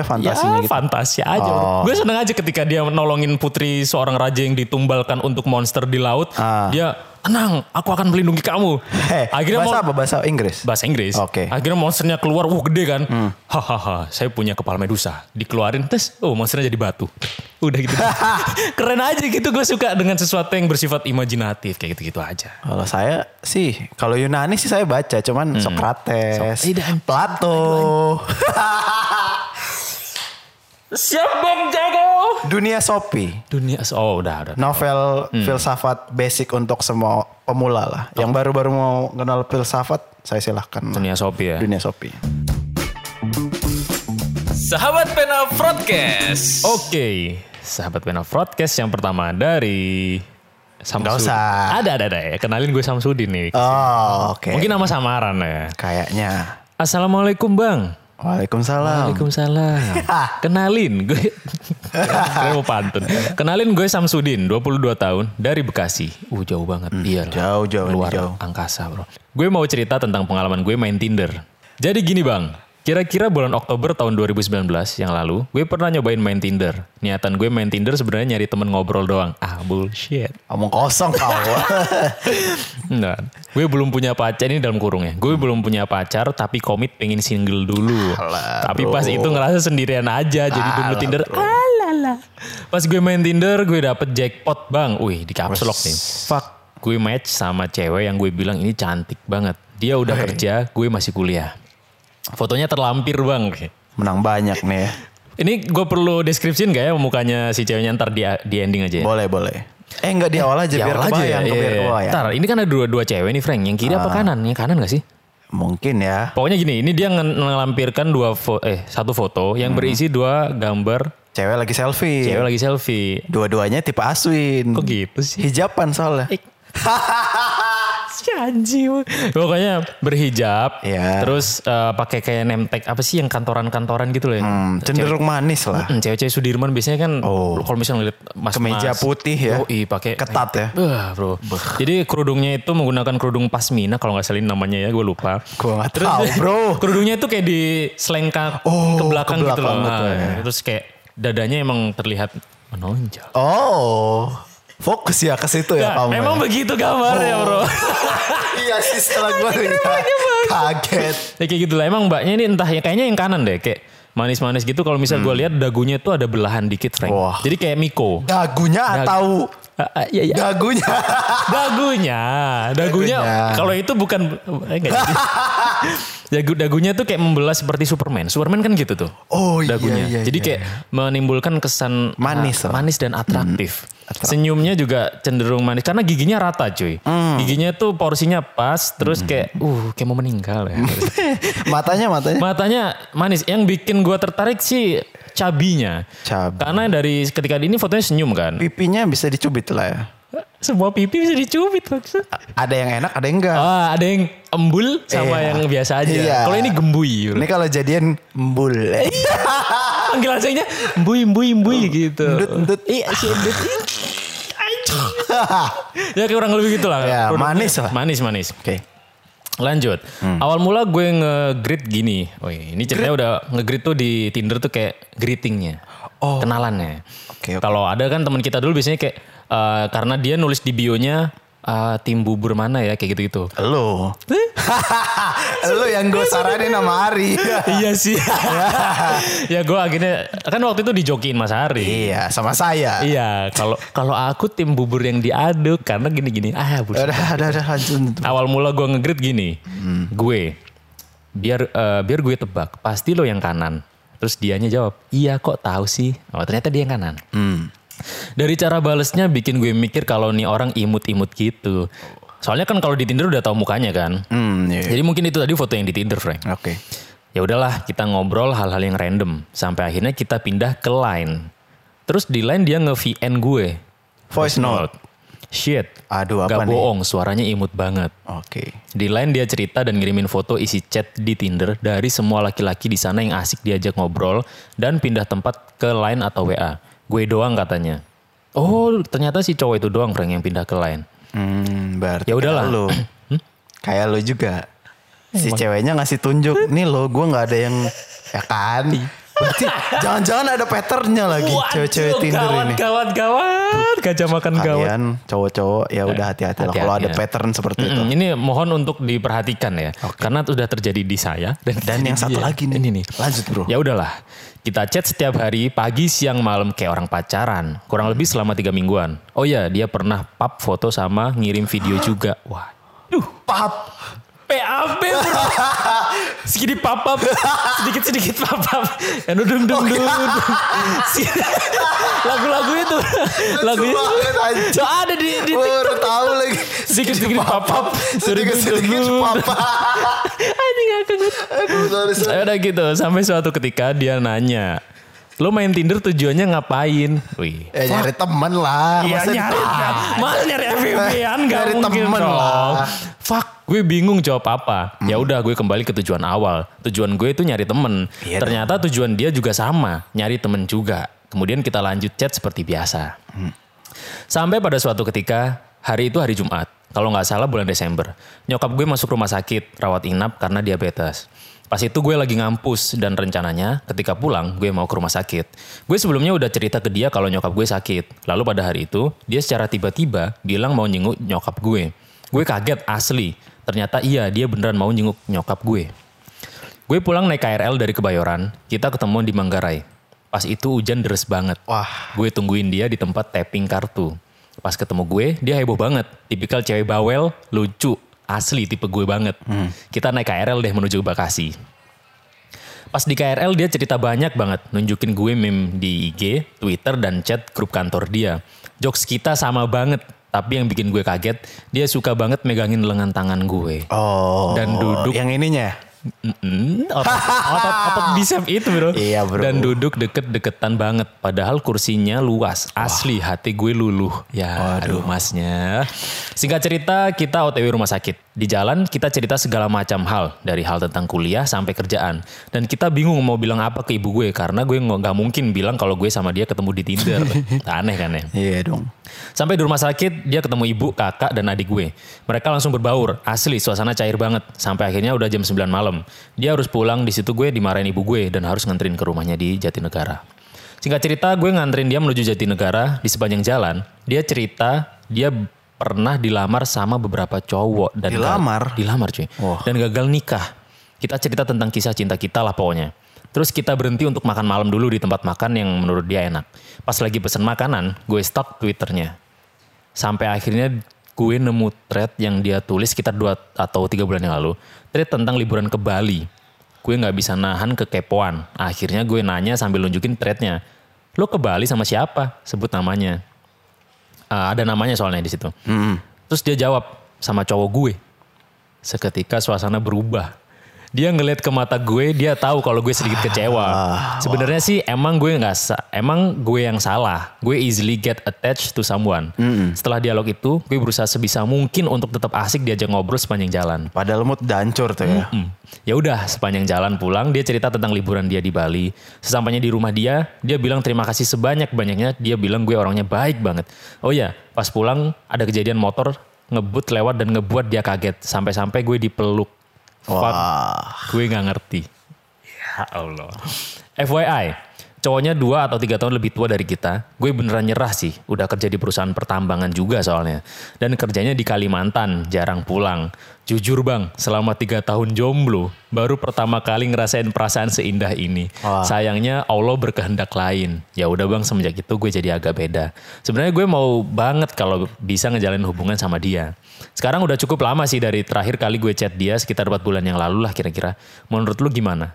ya
fantasinya gitu.
fantasi aja.
Oh.
Gue seneng aja ketika dia nolongin putri seorang raja yang ditumbalkan untuk monster di laut.
Ah.
Dia tenang, aku akan melindungi kamu.
Eh,
Akhirnya
bahasa
mau
apa? Bahasa Inggris?
bahasa Inggris.
Oke. Hmm.
Akhirnya monsternya keluar, wah gede kan. Hahaha, saya punya kepala medusa. Dikeluarin, tes, oh monsternya jadi batu. *laughs* Udah
*laughs*
gitu. Keren aja gitu, gue suka dengan sesuatu yang bersifat imajinatif. Kayak gitu-gitu aja.
Kalau saya sih, kalau Yunani sih saya baca,
Hmm.
cuman Socrates,
Tidak.
Plato, *laughs*
Siap Bang Jago!
dunia Sopi,
Dunia, oh udah, udah.
novel
Hmm.
filsafat basic untuk semua pemula lah. Yang baru-baru mau kenal filsafat, saya silahkan.
Dunia
Dunia,
Sopi ya.
Sopi.
Sahabat Pena Broadcast.
Oke, sahabat Pena Broadcast yang pertama dari Samsudin.
Nggak usah.
Ada, ada, ada. ya. Kenalin gue Samsudin nih.
Oh, oke.
Mungkin nama samaran ya.
Kayaknya.
Assalamualaikum Bang.
Waalaikumsalam.
Waalaikumsalam.
*laughs*
Kenalin gue. Keren mau pantun. Kenalin gue Samsudin, 22 tahun dari Bekasi. Uh jauh banget. Iya. lah.
Hmm, jauh, jauh,
Luar
jauh.
angkasa bro. Gue mau cerita tentang pengalaman gue main Tinder. Jadi gini bang, kira-kira bulan Oktober tahun 2019 yang lalu, gue pernah nyobain main Tinder. Niatan gue main Tinder sebenarnya nyari temen ngobrol doang. Ah bullshit.
Omong kosong kau.
*laughs* Nah, gue belum punya pacar ini dalam kurung ya. Gue belum punya pacar tapi komit pengen single dulu. tapi pas itu ngerasa sendirian aja jadi dulu Tinder. Alala. Pas gue main Tinder gue dapet jackpot bang. Wih di caps lock nih.
Fuck.
Gue match sama cewek yang gue bilang ini cantik banget. Dia udah kerja, gue masih kuliah. Fotonya terlampir bang.
Menang banyak nih ya.
Ini gue perlu deskripsiin gak ya mukanya si ceweknya ntar di, di ending aja *laughs* ya?
Boleh, boleh. Eh enggak di awal aja
Di
biar
awal
kebayang, ya. Ah.
iya.
biar kebayang.
Ntar, ini kan ada dua, dua cewek nih Frank. Yang kiri apa kanan? Yang kanan gak sih?
Mungkin ya.
Pokoknya gini, ini dia nge- ngelampirkan dua fo- eh satu foto
Hmm.
yang berisi dua gambar
Cewek lagi selfie.
cewek lagi selfie.
Dua-duanya tipe aswin.
Kok gitu
*laughs*
Eh, sih?
Hijaban soalnya.
Si anjing. Pokoknya berhijab,
Iya.
terus eh, pakai kayak name tag apa sih yang kantoran-kantoran gitu loh ya.
Hmm, cenderung manis lah.
Mm, Cewek-cewek Sudirman biasanya kan
Oh.
kalau misalnya ngeliat mas
Kemeja putih ya.
Oh, iya pakai
Ketat ya.
Bah, bro. Jadi kerudungnya itu menggunakan kerudung pasmina kalau nggak salah ini namanya ya, gue lupa.
Gua nggak tahu, bro.
kerudungnya itu kayak diselengkang
Oh,
ke belakang
ke
gitu loh.
belakang, betul
Nah,
ya.
Terus kayak dadanya emang terlihat menonjol.
Oh, fokus ya ke situ ya
Nah,
kamu.
*laughs* memang
ya?
begitu gambarnya bro.
iya sih setelah gue kaget.
ya kayak gitu lah. Emang mbaknya ini entah ya kayaknya yang kanan deh kayak manis-manis gitu. Kalau misal gue lihat dagunya tuh ada belahan dikit Frank.
Hmm. Wah. Ya.
Jadi kayak Miko.
Dagunya atau
Ah, ah, iya,
Ya,
iya. *laughs*
dagunya?
dagunya, dagunya.
Dagunya.
Kalau itu bukan eh, nggak
*laughs*
jadi. Dagu, dagunya tuh kayak membelah seperti Superman. Superman kan gitu tuh.
Oh iya,
dagunya.
iya,
Jadi
iya,
kayak menimbulkan kesan
Manis
ah,
lah.
manis dan atraktif. Senyumnya juga cenderung manis karena giginya rata, cuy.
Mm.
Giginya tuh porsinya pas, terus kayak uh kayak mau meninggal ya. *laughs*
matanya matanya.
Matanya manis. Yang bikin gua tertarik sih cabinya.
Cabi.
Karena dari ketika ini fotonya senyum kan.
Pipinya bisa dicubit lah ya.
Semua pipi bisa dicubit maksudnya.
Ada yang enak, ada yang enggak.
Ah, ada yang embul sama
Iya.
yang biasa aja.
Iya.
Kalau ini gembui. Iya. bro.
Ini kalau jadian embul.
Panggil aslinya Ah, embui, embui, embui gitu.
Endut, endut.
Iya, si endut. ya kayak kurang lebih gitu lah.
Ya,
Produknya.
manis lah. Hmm.
Manis, manis.
Oke.
Lanjut. Awal mula gue nge-greet gini. Oh, ini ceritanya udah nge-greet tuh di Tinder tuh kayak greetingnya.
Oh.
Kenalannya.
Oke, oke.
Kalau ada kan teman kita dulu biasanya kayak eh, karena dia nulis di bio-nya eh, tim bubur mana ya kayak gitu-gitu.
Lo.
Eh?
*laughs* Lo yang gue saranin sama
*laughs*
Ari.
iya
*laughs*
sih. ya gue akhirnya kan waktu itu dijokiin Mas Hari.
iya, sama saya.
Iya, kalau kalau aku tim bubur yang diaduk karena gini-gini. Ah, bullshit.
Udah, udah, udah lanjut.
Awal mula gue ngegrid gini, gue biar eh, biar gue tebak pasti lo yang kanan. Terus dianya jawab, iya kok tahu sih. Oh ternyata dia yang kanan. Dari cara balesnya bikin gue mikir kalau nih orang imut-imut gitu. Soalnya kan kalau di Tinder udah tahu mukanya kan.
Hmm, iya.
Jadi mungkin itu tadi foto yang di Tinder, Frank
Oke.
ya udahlah kita ngobrol hal-hal yang random sampai akhirnya kita pindah ke line terus di line dia nge VN gue
Voice note.
shit
Aduh, apa
gak
nih?
bohong suaranya imut banget
Oke.
di line dia cerita dan ngirimin foto isi chat di Tinder dari semua laki-laki di sana yang asik diajak ngobrol dan pindah tempat ke line atau WA gue doang katanya oh ternyata si cowok itu doang Frank yang pindah ke line
Hmm, berarti
Ya udahlah. Eh,
kayak lo. kayak lo juga. Si ceweknya ngasih tunjuk, nih lo gue nggak ada yang ya kan.
Iya.
Berarti jangan-jangan ada patternnya lagi cewek-cewek Tinder
gawat,
ini. Iya,
gawat gawat gajah makan gawat
Kalian cowok-cowok ya udah hati-hati ya. lah kalau
Hati-hati
ada
lah.
pattern seperti itu.
Mm, ini mohon untuk diperhatikan ya, karena sudah terjadi di saya dan,
Dan
di
yang satu
dia.
lagi nih.
Ini nih.
Lanjut, Bro.
Ya udahlah, kita chat setiap hari pagi, siang, malam kayak orang pacaran, kurang lebih selama tiga mingguan. Oh ya, dia pernah pap foto sama ngirim video juga. Wah,
Pap.
PAP bro.
*laughs*
Sedikit papap, sedikit sedikit papap. Ya dudung
Oh,
dung dung.
iya.
*laughs* Si- Lagu-lagunya tuh, lagunya
banget, anjing.
tuh ada di, di
Gue baru tahu lagi.
sedikit-sedikit papap,
Sedikit-sedikit
dudung-dung.
papa.
Anjing aku
Aduh, sorry, sorry.
Ya udah gitu, sampai suatu ketika dia nanya, lo main Tinder tujuannya ngapain? Wih.
Eh nyari temen lah.
Iya
Masa
nyari,
ditanya?
mas nyari FVP-an gak
Nyari
mungkin
temen
dong.
lah.
Fuck, gue bingung jawab apa. Ya udah, gue kembali ke tujuan awal. Tujuan gue itu nyari temen.
Iya dong.
Ternyata tujuan dia juga sama, nyari temen juga. Kemudian kita lanjut chat seperti biasa. Sampai pada suatu ketika, hari itu hari Jumat. Kalau nggak salah bulan Desember. Nyokap gue masuk rumah sakit, rawat inap karena diabetes. Pas itu gue lagi ngampus dan rencananya ketika pulang gue mau ke rumah sakit. Gue sebelumnya udah cerita ke dia kalau nyokap gue sakit. Lalu pada hari itu dia secara tiba-tiba bilang mau jenguk nyokap gue. Gue kaget asli. Ternyata iya dia beneran mau jenguk nyokap gue. Gue pulang naik KRL dari Kebayoran, kita ketemuan di Manggarai. Pas itu hujan deres banget.
Wah.
Gue tungguin dia di tempat tapping kartu. Pas ketemu gue, dia heboh banget. Tipikal cewek bawel, lucu, asli tipe gue banget. Kita naik KRL deh menuju Bekasi. Pas di KRL dia cerita banyak banget, nunjukin gue meme di IG, Twitter, dan chat grup kantor dia. Jokes kita sama banget, tapi yang bikin gue kaget, dia suka banget megangin lengan tangan gue.
Oh.
Dan duduk.
Yang ininya.
Mm-mm, otot, otot, otot bicep itu bro.
Iya, bro.
Dan duduk deket-deketan banget. Padahal kursinya luas. Asli hati gue luluh. Ya aduh masnya. Singkat cerita kita otw rumah sakit. Di jalan kita cerita segala macam hal. Dari hal tentang kuliah sampai kerjaan. Dan kita bingung mau bilang apa ke ibu gue. Karena gue nggak nggak mungkin bilang kalau gue sama dia ketemu di
*laughs*
Tinder. Aneh kan ya.
Iya dong.
Sampai di rumah sakit, dia ketemu ibu, kakak, dan adik gue. Mereka langsung berbaur. Asli, suasana cair banget. Sampai akhirnya udah jam 9 malam. Dia harus pulang, di situ gue dimarahin ibu gue, dan harus nganterin ke rumahnya di Jatinegara. Singkat cerita gue nganterin dia menuju Jatinegara di sepanjang jalan. Dia cerita dia pernah dilamar sama beberapa cowok dan
Dilamar?
dilamar cuy. Dan gagal nikah. Kita cerita tentang kisah cinta kita lah pokoknya. Terus kita berhenti untuk makan malam dulu di tempat makan yang menurut dia enak. Pas lagi pesen makanan, gue stalk Twitternya. Sampai akhirnya gue nemu thread yang dia tulis sekitar 2 atau 3 bulan yang lalu. Thread tentang liburan ke Bali. Gue gak bisa nahan kekepoan. Akhirnya gue nanya sambil nunjukin threadnya. Lo ke Bali sama siapa? Sebut namanya. Ah, ada namanya soalnya di situ. Terus dia jawab sama cowok gue. Seketika suasana berubah. Dia ngeliat ke mata gue, dia tahu kalau gue sedikit kecewa. Sebenarnya sih emang gue nggak, sa- emang gue yang salah. Gue easily get attached to someone. Setelah dialog itu, gue berusaha sebisa mungkin untuk tetap asik diajak ngobrol sepanjang jalan.
Padahal mood dancur tuh ya.
Hmm. Ya udah, sepanjang jalan pulang dia cerita tentang liburan dia di Bali. Sesampainya di rumah dia, dia bilang terima kasih sebanyak-banyaknya. Dia bilang gue orangnya baik banget. Oh ya, pas pulang ada kejadian motor ngebut lewat dan ngebuat dia kaget. Sampai-sampai gue dipeluk. Fuck,
Wah.
gue nggak ngerti. Ya Allah. FYI, cowoknya dua atau tiga tahun lebih tua dari kita. Gue beneran nyerah sih. Udah kerja di perusahaan pertambangan juga soalnya. Dan kerjanya di Kalimantan, jarang pulang. Jujur bang, selama tiga tahun jomblo, baru pertama kali ngerasain perasaan seindah ini. Sayangnya Allah berkehendak lain. Ya udah bang, semenjak itu gue jadi agak beda. Sebenarnya gue mau banget kalau bisa ngejalanin hubungan sama dia. Sekarang udah cukup lama sih dari terakhir kali gue chat dia sekitar 4 bulan yang lalu lah kira-kira. Menurut lu gimana?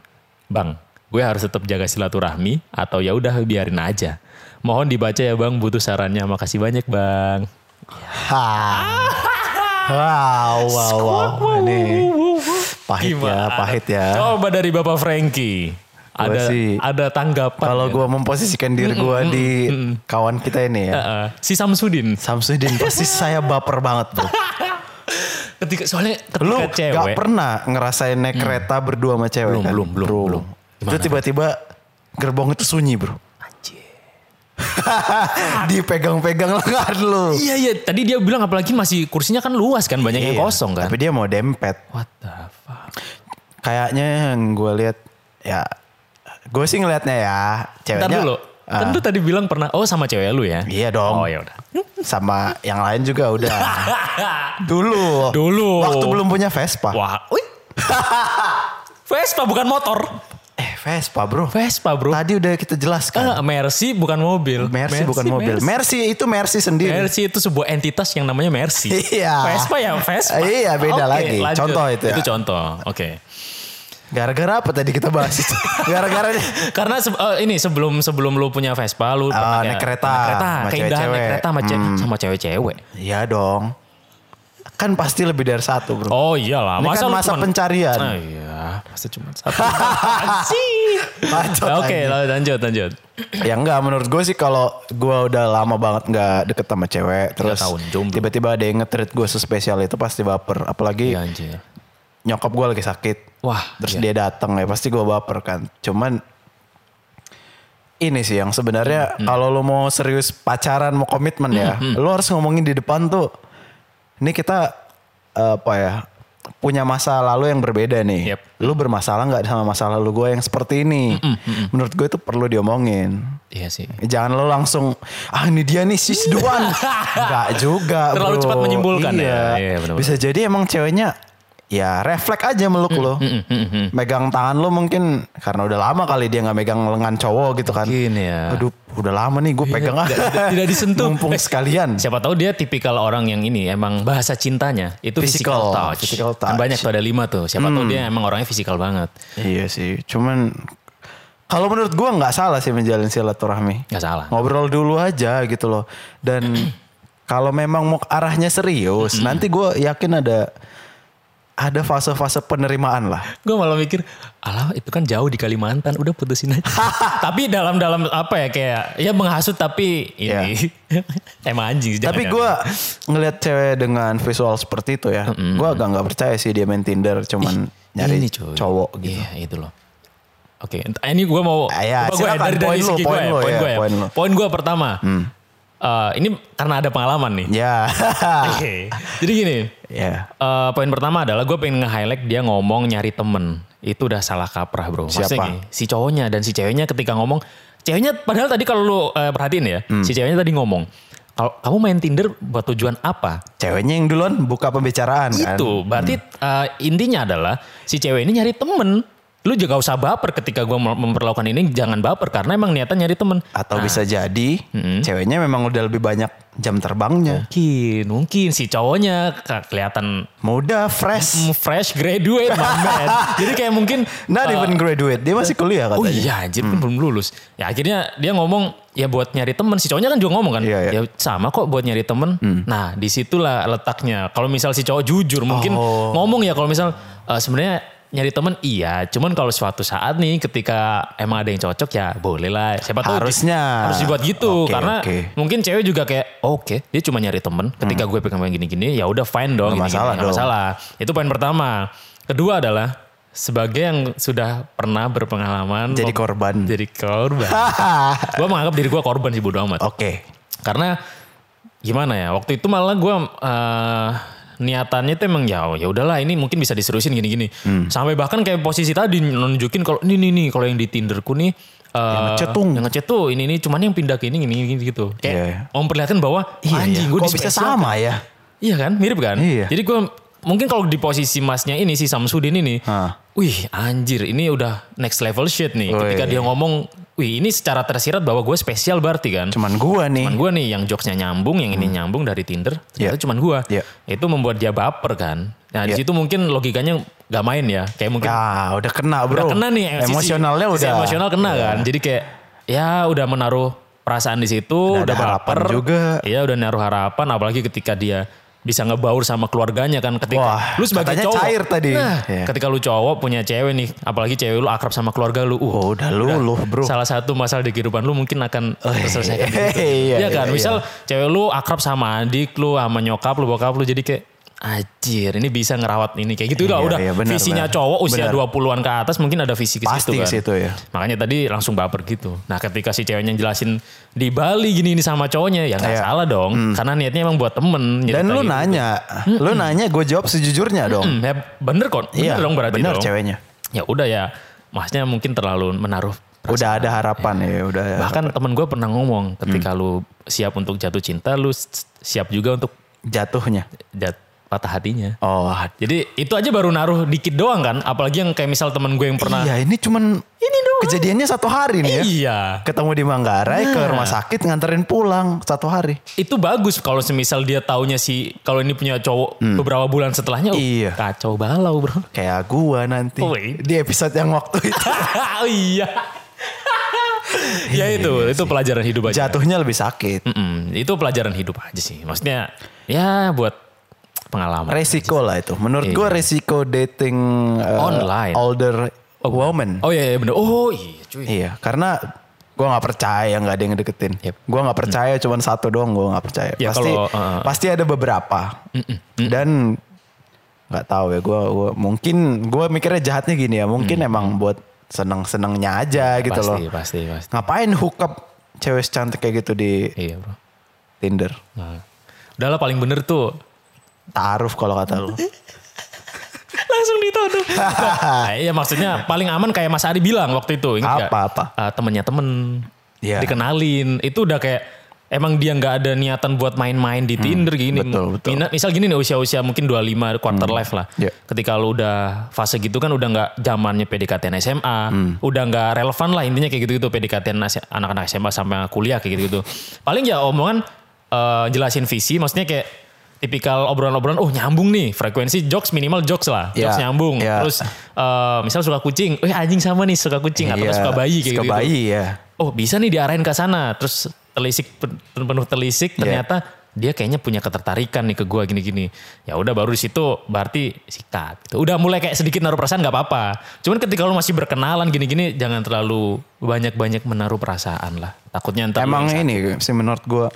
Bang, gue harus tetap jaga silaturahmi atau ya udah biarin aja. Mohon dibaca ya Bang, butuh sarannya. Makasih banyak Bang.
Ha. Wow, wow, wow. Ini
Iya,
pahit ya, pahit ya.
Coba dari Bapak Frankie. Ada
sih-
ada tanggapan.
Kalau
ya?
gua memposisikan diri gua di kawan kita ini ya.
Heeh. si Samsudin
Samsudin pasti saya baper banget bro.
ketika soalnya ketika
Lu
cewek Hmm.
gak pernah ngerasain naik kereta berdua sama
Belum,
cewek kan?
belum, belum,
Bro.
belum.
Itu tiba-tiba gerbong itu sunyi bro.
Anjir.
*laughs* Dipegang-pegang lengan lu.
Iya iya, tadi dia bilang apalagi masih kursinya kan luas kan, banyak yang
Iya,
kosong kan.
Tapi dia mau dempet.
What the fuck?
Kayaknya yang gue lihat ya gue sih ngelihatnya ya ceweknya.
Ntar dulu.
Ah,
Tentu tadi bilang pernah, oh sama cewek lu ya?
iya
Oh
dong.
ya udah. *laughs*
Sama yang lain juga udah. dulu.
Dulu.
Waktu belum punya Vespa.
Wah, *laughs* wih. Vespa bukan motor.
Eh Vespa bro.
Vespa bro.
Tadi udah kita
Ah,
jelaskan.
Mercy bukan mobil.
Mercy, bukan mobil.
Mercy.
Mercy. itu Mercy sendiri.
Mercy itu sebuah entitas yang namanya Mercy.
Iya.
Vespa ya Vespa.
Iya, beda
Oke,
lagi. Contoh itu ya.
Itu contoh. Oke.
Gara-gara apa tadi kita bahas
*laughs*
itu? Gara-gara
Karena se- eh, ini sebelum sebelum lu punya Vespa lu pernah
Ah, naik
kayak-
kereta
naik kereta,
sama
keindahan naik
cewek-cewek. Hmm.
kereta sama, ce- sama cewek-cewek.
Iya dong. Kan pasti lebih dari satu bro.
Oh iyalah,
Ini kan
lu
masa
cuman-
pencarian.
Ah, iya, masa cuma satu.
*laughs*
Anjing.
Bacot
Oke, lanjut lanjut.
ya enggak menurut gue sih kalau gue udah lama banget nggak deket sama cewek terus
tahun jomblo.
tiba-tiba ada yang nge-treat gue sespesial itu pasti baper apalagi
Iya anjir.
nyokap gue lagi sakit
Wah, iya.
terus dia datang ya pasti gue baper kan cuman ini sih yang
Hmm,
sebenarnya kalau lo mau serius pacaran mau komitmen ya lo harus ngomongin di depan tuh ini kita apa ya punya masa lalu yang berbeda nih
Yep. Hmm,
Lo bermasalah nggak sama masa lalu gue yang seperti ini menurut gue itu perlu diomongin
Iya sih.
Jangan lo langsung ah ini dia nih sis duan.
*laughs*
Enggak juga
Terlalu
bro.
cepat menyimpulkan ya.
iya.
Iya, benar-benar.
Bisa jadi emang ceweknya ya refleks aja meluk
Hmm,
lo. Megang tangan lo mungkin karena udah lama kali dia nggak megang lengan cowok gitu kan.
Mungkin ya. Iya,
Aduh udah lama nih gue pegang ah.
tidak- tidak disentuh.
Mumpung
Eh,
sekalian.
Siapa tahu dia tipikal orang yang ini emang bahasa cintanya itu physical,
Physical,
touch.
physical
Kan
touch. Hmm.
banyak tuh ada lima tuh. Siapa tahu dia emang orangnya physical banget.
Iya sih cuman kalau menurut gue nggak salah sih menjalin silaturahmi.
Nggak salah.
ngobrol dulu aja gitu loh dan *clears throat* kalau memang mau ke arahnya serius nanti gue yakin ada ada fase-fase penerimaan
*laughs*
lah
Gue malah mikir, alah itu kan jauh di Kalimantan, udah putusin
*laughs*
aja. tapi dalam dalam apa ya kayak ya menghasut tapi ini *laughs* emang anjing. sih,
Iya. tapi
jangan-jangan.
gue ngelihat cewek dengan visual seperti itu ya gue agak nggak percaya sih dia main Tinder cuman nyari
Ini, cuy.
cowok gitu
Iya itu loh. Oke, ent- ini gue mau
Ah, ya,
coba gua
silakan.
dari, dari
Poin lu,
segi gue
poin
ya,
lu,
poin
ya,
gue ya.
poin lu. Hmm.
Poin gue pertama, eh, ini karena ada pengalaman nih.
ya *laughs*
Oke, jadi gini,
ya
Eh, poin pertama adalah gue pengen nge-highlight dia ngomong nyari temen. Itu udah salah kaprah bro. Maksudnya
Siapa?
gini, si cowoknya dan si ceweknya ketika ngomong Ceweknya padahal tadi kalau lu eh, perhatiin ya,
Hmm.
si ceweknya tadi ngomong, kalau kamu main Tinder buat tujuan apa?
Ceweknya yang duluan buka pembicaraan kan.
Itu berarti uh,
Hmm.
intinya adalah si cewek ini nyari temen. Lu juga gak usah baper ketika gua mem- memperlakukan ini jangan baper karena emang niatan nyari temen.
Atau bisa jadi ceweknya memang udah lebih banyak jam terbangnya.
Mungkin, mungkin si cowoknya ke- kelihatan
Muda, fresh.
mm, fresh graduate my man.
*laughs*
Jadi kayak mungkin
Not
uh,
even graduate. Dia masih kuliah
Oh
ya katanya. Hmm.
iya anjir kan belum lulus. Ya akhirnya dia ngomong ya buat nyari temen. Si cowoknya kan juga ngomong kan.
Iya, iya. Hmm.
Ya sama kok buat nyari temen. Nah disitulah letaknya. Kalau misal si cowok jujur mungkin
Oh.
ngomong ya kalau misal e, sebenarnya nyari temen iya. Cuman kalau suatu saat nih ketika emang ada yang cocok ya boleh lah. Siapa tahu
Harusnya.
harus dibuat gitu
Oke,
karena
oke.
mungkin cewek juga kayak oh, oke dia cuma nyari temen. Ketika gue pengen main gini-gini ya udah fine dong.
Hmm.
gini-gini,
Nggak masalah
nggak
dong.
masalah. Itu poin pertama. Kedua adalah sebagai yang sudah pernah berpengalaman
Jadi
mem-
korban.
jadi korban. *laughs* gue menganggap diri gue korban sih bodo amat.
Oke.
Karena gimana ya? Waktu itu malah gue eh, niatannya tuh emang ya ya udahlah ini mungkin bisa diserusin gini-gini.
Hmm.
Sampai bahkan kayak posisi tadi nunjukin kalau ini nih nih kalau yang di Tinderku nih eh,
Yang ngechat tuh.
yang ngechat tuh ini ini cuman yang pindah ke ini gini gini gitu. Kayak
Iya, iya.
memperlihatkan bahwa
Iya,
anjing
iya.
gue
Kok bisa sama ya?
Iya kan, mirip kan?
Iya.
Jadi gue mungkin kalau di posisi masnya ini si Samsudin ini,
Hah.
wih anjir ini udah next level shit nih.
Wih.
Ketika dia ngomong, wih ini secara tersirat bahwa gue spesial berarti kan.
Cuman gua nih.
Cuman gue nih yang jokesnya nyambung, yang ini nyambung dari Tinder, ternyata
Hmm. Iya.
cuman gue.
Iya.
Itu membuat dia baper kan. Nah di
Iya.
situ mungkin logikanya gak main ya, kayak mungkin
Ah, udah kena bro.
udah kena nih sisi-
Emosionalnya
sisi
udah. Iya.
emosional kena kan jadi kayak ya udah menaruh perasaan di situ
Udah
udah
ada harapan
baper
juga.
iya udah naruh harapan apalagi ketika dia bisa ngebaur sama keluarganya kan ketika
Wah,
lu sebagai
katanya
cowok
cair tadi.
Nah,
Iya.
ketika lu cowok punya cewek nih apalagi cewek lu akrab sama keluarga lu uh,
Oh, udah lu, lu bro.
salah satu masalah di kehidupan lu mungkin akan terselesaikan
iya,
gitu.
iya,
Iya kan?
iya,
Misal cewek lu akrab sama adik lu, sama nyokap lu, bokap lu jadi kayak Ajir, ini bisa ngerawat ini kayak gitu lah
Iya,
udah.
iya, benar,
Visinya
benar.
cowok usia
Benar.
20-an ke atas mungkin ada visi ke situ
Pasti
kan.
ke situ, ya.
Makanya tadi langsung baper gitu. Nah, ketika si ceweknya jelasin di Bali gini ini sama cowoknya, ya nggak
Iya.
salah dong. Karena niatnya emang buat temen.
Dan
nyeritain
lu
gitu.
nanya, lu nanya gue jawab sejujurnya dong.
Hmm, ya bener kok. Bener
Iya,
dong berarti
bener
dong.
ceweknya.
Ya udah ya, masnya mungkin terlalu menaruh
Udah ada harapan ya, udah.
Bahkan temen gue pernah ngomong ketika
Hmm.
lu siap untuk jatuh cinta, lu s- siap juga untuk
jatuhnya.
jat patah hatinya.
Oh,
Jadi itu aja baru naruh dikit doang kan, apalagi yang kayak misal temen gue yang pernah.
iya ini cuman kejadiannya satu hari nih ya.
Iya. Nah.
Ketemu di Manggarai ke rumah sakit nganterin pulang satu hari.
Itu bagus kalau semisal dia taunya si kalau ini punya cowok beberapa bulan setelahnya. oh,
Hmm. Iya.
Kacau balau bro. *laughs*
Kayak gua nanti
Wih.
di episode yang waktu
*laughs*
itu
oh iya.
*laughs*
ya
Iya,
itu, itu pelajaran hidup aja.
jatuhnya lebih sakit.
Mm-mm, itu pelajaran hidup aja sih. Maksudnya ya buat pengalaman.
Resiko lah itu. Menurut gua resiko dating
Iya.
uh,
Online.
older woman.
Oh iya, iya bener. Oh iya cuy.
Iya, karena gua nggak percaya nggak ada yang deketin.
Yep. Mm.
Gua nggak percaya, cuman satu doang gua nggak percaya.
Ya,
pasti
kalau, uh,
pasti ada beberapa dan nggak tahu ya. Gua, gua mungkin gua mikirnya jahatnya gini ya. Mungkin emang buat seneng senengnya aja gitu
Mm. Ya, pasti,
loh.
Pasti, pasti.
Ngapain hookup cewek cantik kayak gitu di
Iya bro.
Tinder?
Nah. Udah lah paling bener tuh.
Taruh kalau kata lu.
Langsung dituduh.
*laughs*
Nah, iya maksudnya paling aman kayak Mas Ari bilang waktu itu. Ingat nggak?
Apa, apa?
Eh, temennya temen.
Iya.
Dikenalin. Itu udah kayak emang dia nggak ada niatan buat main-main di Tinder gini.
Hmm, betul, betul.
Mina- misal gini nih usia-usia mungkin 25 quarter life lah.
Iya.
Ketika lu udah fase gitu kan udah nggak zamannya PDKT SMA,
Hmm.
udah nggak relevan lah intinya kayak gitu-gitu PDKT anak-anak SMA sama kuliah kayak gitu-gitu. Paling ya omongan eh, jelasin visi, maksudnya kayak tipikal obrolan-obrolan, oh nyambung nih frekuensi jokes minimal jokes lah,
Iya,
jokes nyambung.
iya.
Terus eh, misal suka kucing, eh anjing sama nih suka kucing atau nggak
Iya,
suka bayi kayak
suka
gitu.
bayi ya.
Oh bisa nih diarahin ke sana. Terus telisik pen- penuh telisik
Iya.
ternyata dia kayaknya punya ketertarikan nih ke gua gini-gini. Ya udah baru di situ berarti sikat. Gitu. Udah mulai kayak sedikit naruh perasaan nggak apa-apa. Cuman ketika lu masih berkenalan gini-gini jangan terlalu banyak-banyak menaruh perasaan lah. Takutnya ntar lu
Emang
yang
ini sih menurut gua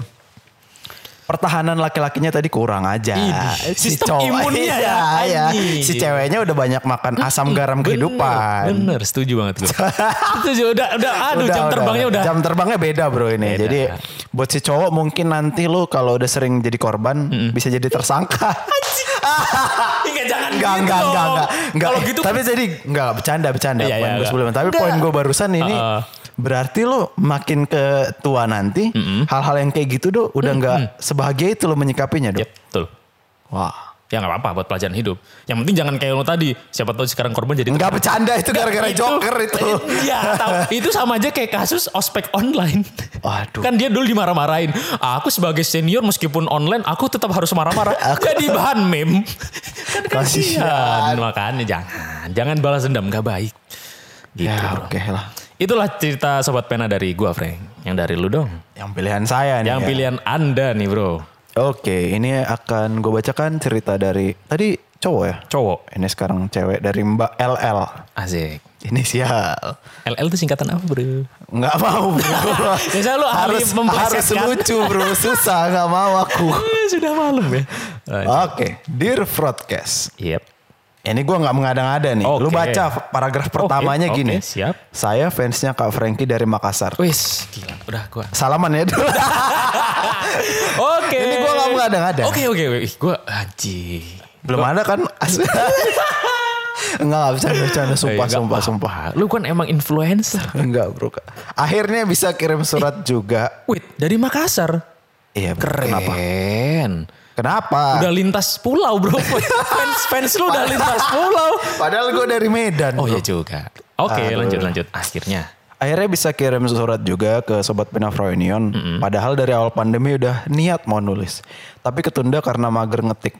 pertahanan laki-lakinya tadi kurang aja.
Ih, sistem
cowok-
imunnya ya,
*laughs* Iya, iya.
anjing.
Si ceweknya udah banyak makan asam garam
Bener,
kehidupan.
Bener, setuju banget
*laughs*
gue. setuju, udah, udah, aduh
Udah,
jam terbangnya udah.
Jam terbangnya beda bro ini.
Beda.
Jadi buat si cowok mungkin nanti lu kalau udah sering jadi korban bisa jadi tersangka.
*laughs*
*laughs*
Enggak, jangan gitu
Enggak, enggak, enggak,
dong.
enggak, enggak.
Kalau gitu
Tapi jadi enggak bercanda, bercanda.
Iya, iya,
poin gue
enggak.
sebelumnya. Tapi poin gue barusan ini
Heeh.
Berarti lo makin ke tua nanti hal-hal yang kayak gitu do udah nggak sebahagia itu lo menyikapinya do.
Yep, betul.
Wah.
Ya nggak apa-apa buat pelajaran hidup. Yang penting jangan kayak lo tadi. Siapa tahu sekarang korban jadi
Nggak bercanda itu gara-gara
Gitu.
joker itu.
*laughs* Iya, tahu. itu sama aja kayak kasus ospek online.
Waduh.
Kan dia dulu dimarah-marahin. Aku sebagai senior meskipun online, aku tetap harus
*laughs*
marah-marah. Jadi bahan meme. kan kasihan.
Kasihan.
Makanya jangan, jangan balas dendam, nggak baik. Gitu.
ya
bro.
oke lah.
Itulah cerita sobat pena dari gua, Frank. Yang dari lu dong.
Yang pilihan saya nih.
Yang
ya.
pilihan Anda nih, Bro.
Oke, ini akan gue bacakan cerita dari tadi cowok ya.
Cowok.
Ini sekarang cewek dari Mbak LL.
Asik.
Inisial.
LL itu singkatan apa,
*laughs*
Bro?
Nggak mau
*laughs*
bro.
Biasanya lu ahli kan?
harus
memplesetkan.
harus lucu bro. Susah nggak mau aku.
Eh, Sudah malam ya. Eh,
Oke, dear broadcast.
Yep.
Ini gue nggak mengada-ngada nih. Lu
Oke.
baca paragraf pertamanya
Oke, oke,
gini.
siap.
Saya fansnya Kak Frankie dari Makassar.
Wis, gila. Udah gua.
Salaman
*laughs*
ya. dulu.
Oke.
Ini gua nggak mengada-ngada.
Oke oke oke. Ih, Gua anjing.
Belum ada
*laughs*
kan? As- Enggak, nggak bisa bercanda. Sumpah,
Eh, nggak
sumpah,
apa-apa.
sumpah.
Lu kan emang influencer.
Enggak bro. Kak. Akhirnya bisa kirim surat juga.
Wait, dari Makassar.
Iya, bro.
Keren.
Kenapa? Kenapa?
Udah lintas pulau *laughs* bro. fans fans lu udah lintas pulau.
Padahal gue dari Medan.
Oh
bro.
iya juga. Oke lanjut lanjut. Akhirnya.
Akhirnya bisa kirim surat juga ke Sobat Pena Froynion. Padahal dari awal pandemi udah niat mau nulis. Tapi ketunda karena mager ngetik.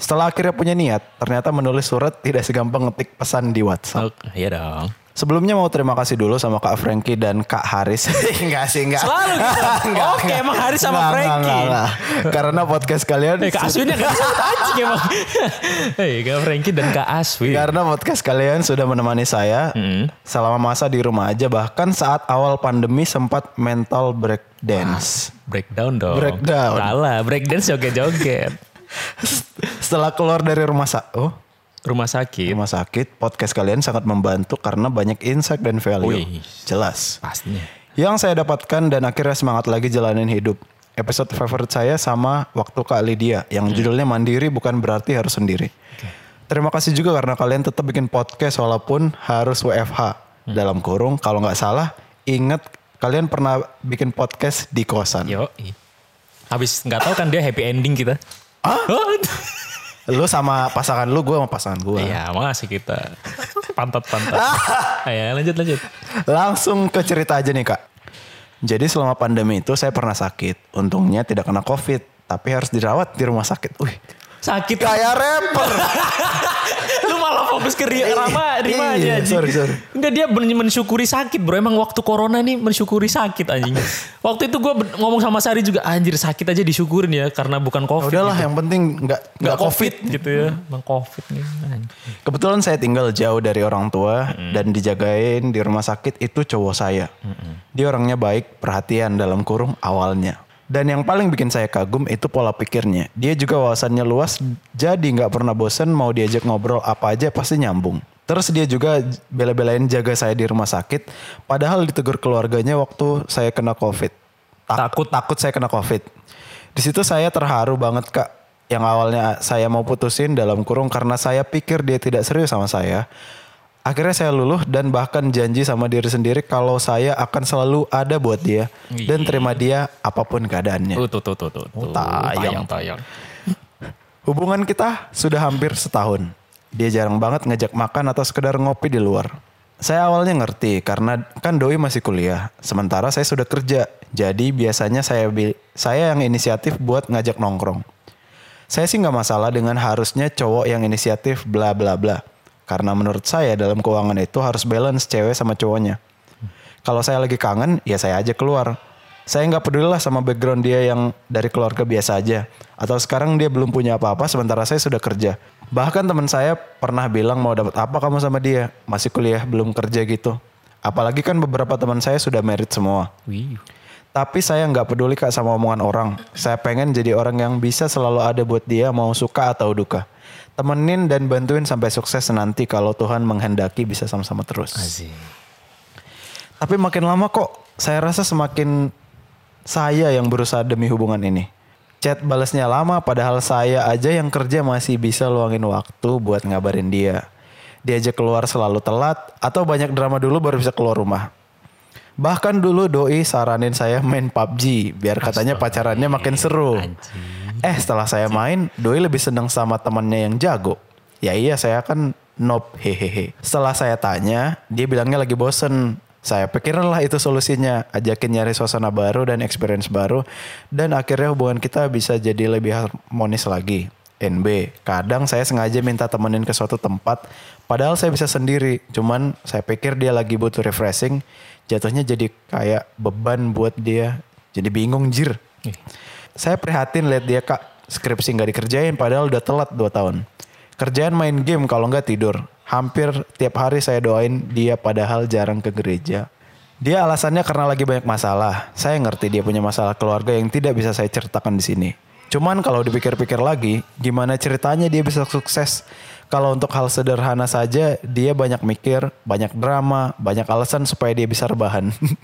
Setelah akhirnya punya niat, ternyata menulis surat tidak segampang ngetik pesan di WhatsApp.
Oke, iya dong.
Sebelumnya mau terima kasih dulu sama Kak Frankie dan Kak Haris. *laughs* enggak sih, *laughs* enggak.
Selalu gitu. Oke, emang Haris sama
Enggak, enggak,
Frankie.
enggak, enggak. Karena podcast kalian...
Eh Kak Aswinnya gak bisa anjing emang. *laughs* Hei Kak Frankie dan Kak Aswin.
Karena podcast kalian sudah menemani saya selama masa di rumah aja. Bahkan saat awal pandemi sempat mental breakdance.
Breakdown dong.
Breakdown.
Salah, breakdown joget-joget.
Setelah keluar dari rumah sa- oh,
Rumah sakit.
rumah sakit, podcast kalian sangat membantu karena banyak insight dan value.
Wih.
Jelas.
Pastinya.
Yang saya dapatkan dan akhirnya semangat lagi jalanin hidup. Episode favorit saya sama waktu Kak Lydia yang judulnya Mandiri bukan berarti harus sendiri. Terima kasih juga karena kalian tetap bikin podcast walaupun harus WFH.
Hmm.
Dalam kurung kalau nggak salah ingat kalian pernah bikin podcast di kosan.
Yo. iya. Habis nggak tahu kan dia happy ending kita. Ah?
Lu sama pasangan lu, gue sama pasangan gue.
*laughs* Iya, makasih kita. Pantat-pantat.
Ah.
Ayo lanjut lanjut.
Langsung ke cerita aja nih kak. Jadi selama pandemi itu saya pernah sakit. Untungnya tidak kena covid. Tapi harus dirawat di rumah sakit. Wih.
Sakit
Kayak rapper.
lu malah fokus ke Ria Rama Rima aja
Iya,
anjing.
sorry, sorry.
Enggak dia men- mensyukuri sakit bro. Emang waktu corona nih mensyukuri sakit anjing. waktu itu gue ngomong sama Sari juga anjir sakit aja disyukurin ya karena bukan
Ya
covid.
Udahlah yang penting nggak
Nggak
nggak covid. Ya.
gitu ya. Emang covid nih. anjing.
Kebetulan saya tinggal jauh dari orang tua dan dijagain di rumah sakit itu cowok saya. Dia orangnya baik, perhatian dalam kurung awalnya. Dan yang paling bikin saya kagum itu pola pikirnya. Dia juga wawasannya luas, jadi nggak pernah bosen mau diajak ngobrol apa aja pasti nyambung. Terus dia juga j- bela-belain jaga saya di rumah sakit, padahal ditegur keluarganya waktu saya kena covid. takut takut saya kena covid. Di situ saya terharu banget kak. Yang awalnya saya mau putusin dalam kurung karena saya pikir dia tidak serius sama saya. Akhirnya saya luluh dan bahkan janji sama diri sendiri kalau saya akan selalu ada buat dia dan terima dia apapun keadaannya.
Tuh tuh tuh tuh tuh. tuh.
Oh, tayang.
tayang tayang.
Hubungan kita sudah hampir setahun. Dia jarang banget ngajak makan atau sekedar ngopi di luar. Saya awalnya ngerti karena kan doi masih kuliah, sementara saya sudah kerja. Jadi biasanya saya bi- saya yang inisiatif buat ngajak nongkrong. Saya sih nggak masalah dengan harusnya cowok yang inisiatif bla bla bla. Karena menurut saya dalam keuangan itu harus balance cewek sama cowoknya. Kalau saya lagi kangen, ya saya aja keluar. Saya nggak pedulilah sama background dia yang dari keluarga biasa aja. Atau sekarang dia belum punya apa-apa, sementara saya sudah kerja. Bahkan teman saya pernah bilang mau dapat apa kamu sama dia. Masih kuliah, belum kerja gitu. Apalagi kan beberapa teman saya sudah married semua.
Wih.
Tapi saya nggak peduli kak sama omongan orang. Saya pengen jadi orang yang bisa selalu ada buat dia mau suka atau duka. Temenin dan bantuin sampai sukses nanti kalau Tuhan menghendaki bisa sama-sama terus.
Asik.
Tapi makin lama kok saya rasa semakin saya yang berusaha demi hubungan ini. Chat balasnya lama padahal saya aja yang kerja masih bisa luangin waktu buat ngabarin dia. Diajak keluar selalu telat atau banyak drama dulu baru bisa keluar rumah. Bahkan dulu doi saranin saya main PUBG biar katanya pacarannya makin seru. Eh setelah saya main, doi lebih seneng sama temannya yang jago. Ya iya saya kan nope hehehe. Setelah saya tanya, dia bilangnya lagi bosen. Saya pikirlah itu solusinya, ajakin nyari suasana baru dan experience baru dan akhirnya hubungan kita bisa jadi lebih harmonis lagi. NB, kadang saya sengaja minta temenin ke suatu tempat padahal saya bisa sendiri, cuman saya pikir dia lagi butuh refreshing, jatuhnya jadi kayak beban buat dia. Jadi bingung jir. Saya prihatin lihat dia kak skripsi nggak dikerjain padahal udah telat 2 tahun. Kerjaan main game kalau nggak tidur. Hampir tiap hari saya doain dia padahal jarang ke gereja. Dia alasannya karena lagi banyak masalah. Saya ngerti dia punya masalah keluarga yang tidak bisa saya ceritakan di sini. Cuman kalau dipikir-pikir lagi, gimana ceritanya dia bisa sukses? Kalau untuk hal sederhana saja, dia banyak mikir, banyak drama, banyak alasan supaya dia bisa rebahan. *laughs*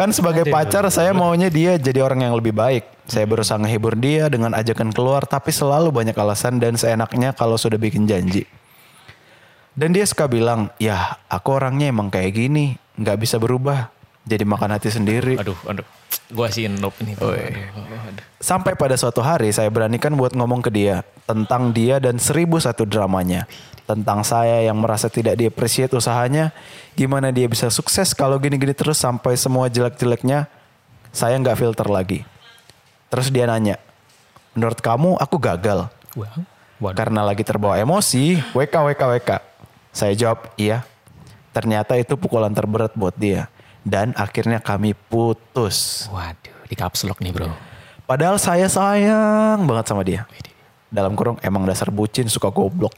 Kan sebagai pacar saya maunya dia jadi orang yang lebih baik. Saya berusaha ngehibur dia dengan ajakan keluar tapi selalu banyak alasan dan seenaknya kalau sudah bikin janji. Dan dia suka bilang, ya aku orangnya emang kayak gini, nggak bisa berubah. Jadi makan hati sendiri.
Aduh, aduh. Gua sih nope ini. Aduh, aduh.
Sampai pada suatu hari saya beranikan buat ngomong ke dia tentang dia dan seribu satu dramanya. Tentang saya yang merasa tidak diapresiat usahanya, gimana dia bisa sukses kalau gini-gini terus sampai semua jelek-jeleknya saya nggak filter lagi. Terus dia nanya, menurut kamu aku gagal?
Wah, waduh.
Karena lagi terbawa emosi, WK, WK, WK. Saya jawab, iya. Ternyata itu pukulan terberat buat dia. Dan akhirnya kami putus.
Waduh, di caps lock nih bro.
Padahal saya sayang banget sama dia. Dalam kurung emang dasar bucin suka goblok.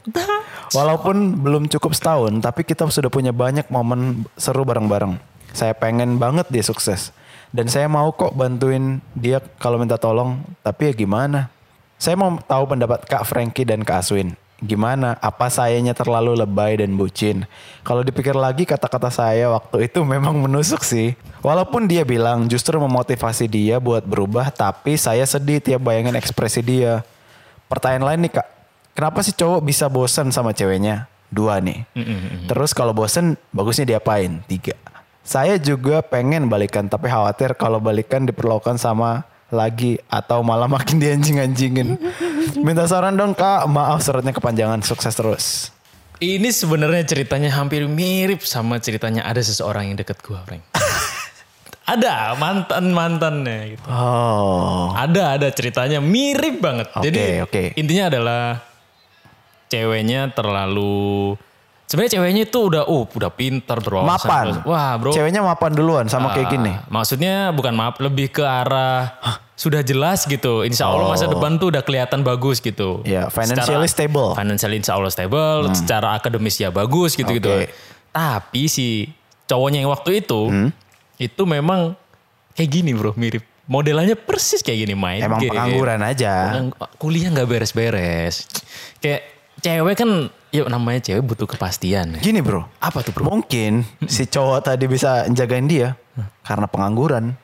Walaupun belum cukup setahun, tapi kita sudah punya banyak momen seru bareng-bareng. Saya pengen banget dia sukses. Dan saya mau kok bantuin dia kalau minta tolong, tapi ya gimana? Saya mau tahu pendapat Kak Frankie dan Kak Aswin. Gimana? Apa sayanya terlalu lebay dan bucin? Kalau dipikir lagi kata-kata saya waktu itu memang menusuk sih. Walaupun dia bilang justru memotivasi dia buat berubah, tapi saya sedih tiap bayangin ekspresi dia. Pertanyaan lain nih kak, kenapa sih cowok bisa bosan sama ceweknya? Dua nih.
Mm,
Terus kalau bosan, bagusnya diapain? Tiga. Saya juga pengen balikan, tapi khawatir kalau balikan diperlakukan sama lagi atau malah *laughs* makin dianjing-anjingin. Minta saran dong kak, maaf suratnya kepanjangan, sukses terus.
Ini sebenarnya ceritanya hampir mirip sama ceritanya ada seseorang yang deket gua, *laughs* Frank. ada mantan mantannya gitu.
Oh,
Ada ada ceritanya mirip banget.
Oke,
Jadi
oke.
intinya adalah ceweknya terlalu sebenarnya ceweknya itu udah uh udah pintar berwawasan.
mapan.
Wah, Bro. Ah,
Ceweknya mapan duluan sama kayak gini.
Maksudnya bukan maaf, lebih ke arah sudah jelas gitu. Insya Allah masa depan tuh udah kelihatan bagus gitu.
Oh. Ya, financially stable. Hmm.
Financially insya Allah stable, secara akademis ya bagus gitu-gitu.
Oke.
Tapi si cowoknya yang waktu itu,
Hmm.
itu memang kayak gini bro, mirip. Modelannya persis kayak gini main
Emang
game.
pengangguran eh? aja.
Yang Kuliah nggak beres-beres. Kayak cewek kan, yuk namanya cewek butuh kepastian.
Gini bro,
Apa tuh bro?
mungkin si cowok tadi bisa jagain dia karena pengangguran.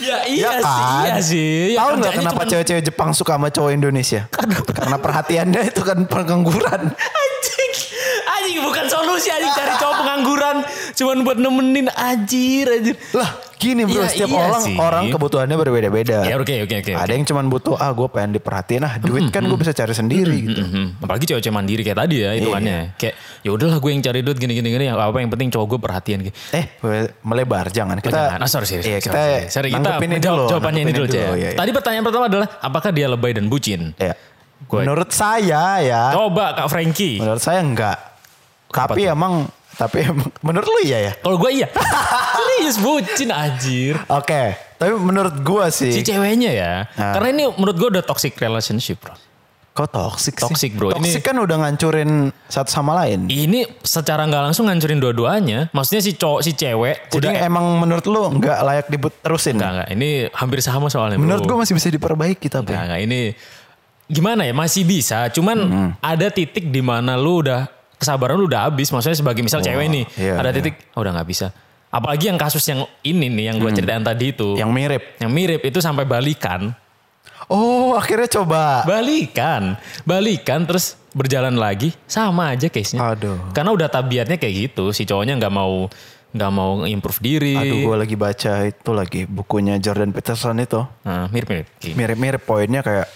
Ya iya
Ya
sih,
kan?
iya sih. Ya,
Tahu nggak
kerjaannya
kenapa
cuman-
cewek-cewek Jepang suka sama cowok Indonesia? karena perhatiannya itu kan pengangguran.
Anjing, anjing bukan solusi anjing cari cowok pengangguran cuman buat nemenin anjir anjir.
Lah gini bro,
Ya,
setiap
iya
orang
sih.
orang kebutuhannya berbeda-beda.
Ya oke oke oke. Mm-hmm,
Ada yang cuman butuh ah gue pengen diperhatiin ah duit kan gue bisa cari sendiri gitu.
Mhm. Apalagi cewek-cewek mandiri kayak tadi ya hitungannya. Kayak ya udahlah gue yang cari duit gini gini gini apa yang penting cowok gue perhatian gitu.
Eh melebar jangan kita.
Jangan, ah, sorry, sorry,
Iya,
sorry,
kita
sorry, sorry. kita
nanggepin ini
menjawab
dulu,
jawabannya ini
nanggepin
dulu, aja.
iya, iya.
Tadi pertanyaan pertama adalah apakah dia lebay dan bucin?
Iya.
Gua-
Menurut saya ya,
Coba Kak Frankie.
menurut saya enggak. Tapi emang, tapi emang *laughs* menurut lu iya ya.
Kalau gue iya. *laughs* Serius bucin anjir.
Oke, tapi menurut gua
Si
sih,
ceweknya ya.
Iya. Ah.
Karena ini menurut gue udah toxic relationship bro.
kok toxic sih?
Toxic, bro.
Toxic
Ini- Iya.
kan udah ngancurin satu sama lain.
Ini secara nggak langsung ngancurin dua-duanya. Maksudnya si cowok, si cewek.
Jadi
udah
emang menurut lu nggak layak dibut terusin.
Enggak, enggak. Ini hampir sama soalnya. bro.
Menurut gua masih bisa diperbaiki tapi.
Enggak, enggak. Ini gimana ya? Masih bisa. Cuman
Hmm.
ada titik di mana lu udah kesabaran lu udah habis. Maksudnya sebagai misal cewek nih.
iya,
ada
iya.
titik oh, udah nggak bisa. Apalagi yang kasus yang ini nih yang gue ceritain tadi itu.
Hmm. Yang mirip.
yang mirip itu sampai balikan.
Oh, akhirnya coba.
Balikan. Balikan terus berjalan lagi sama aja case-nya.
Aduh.
Karena udah tabiatnya kayak gitu si cowoknya nggak mau nggak mau improve diri.
Aduh gue lagi baca itu lagi bukunya Jordan Peterson itu.
Nah, mirip-mirip.
Mirip-mirip poinnya kayak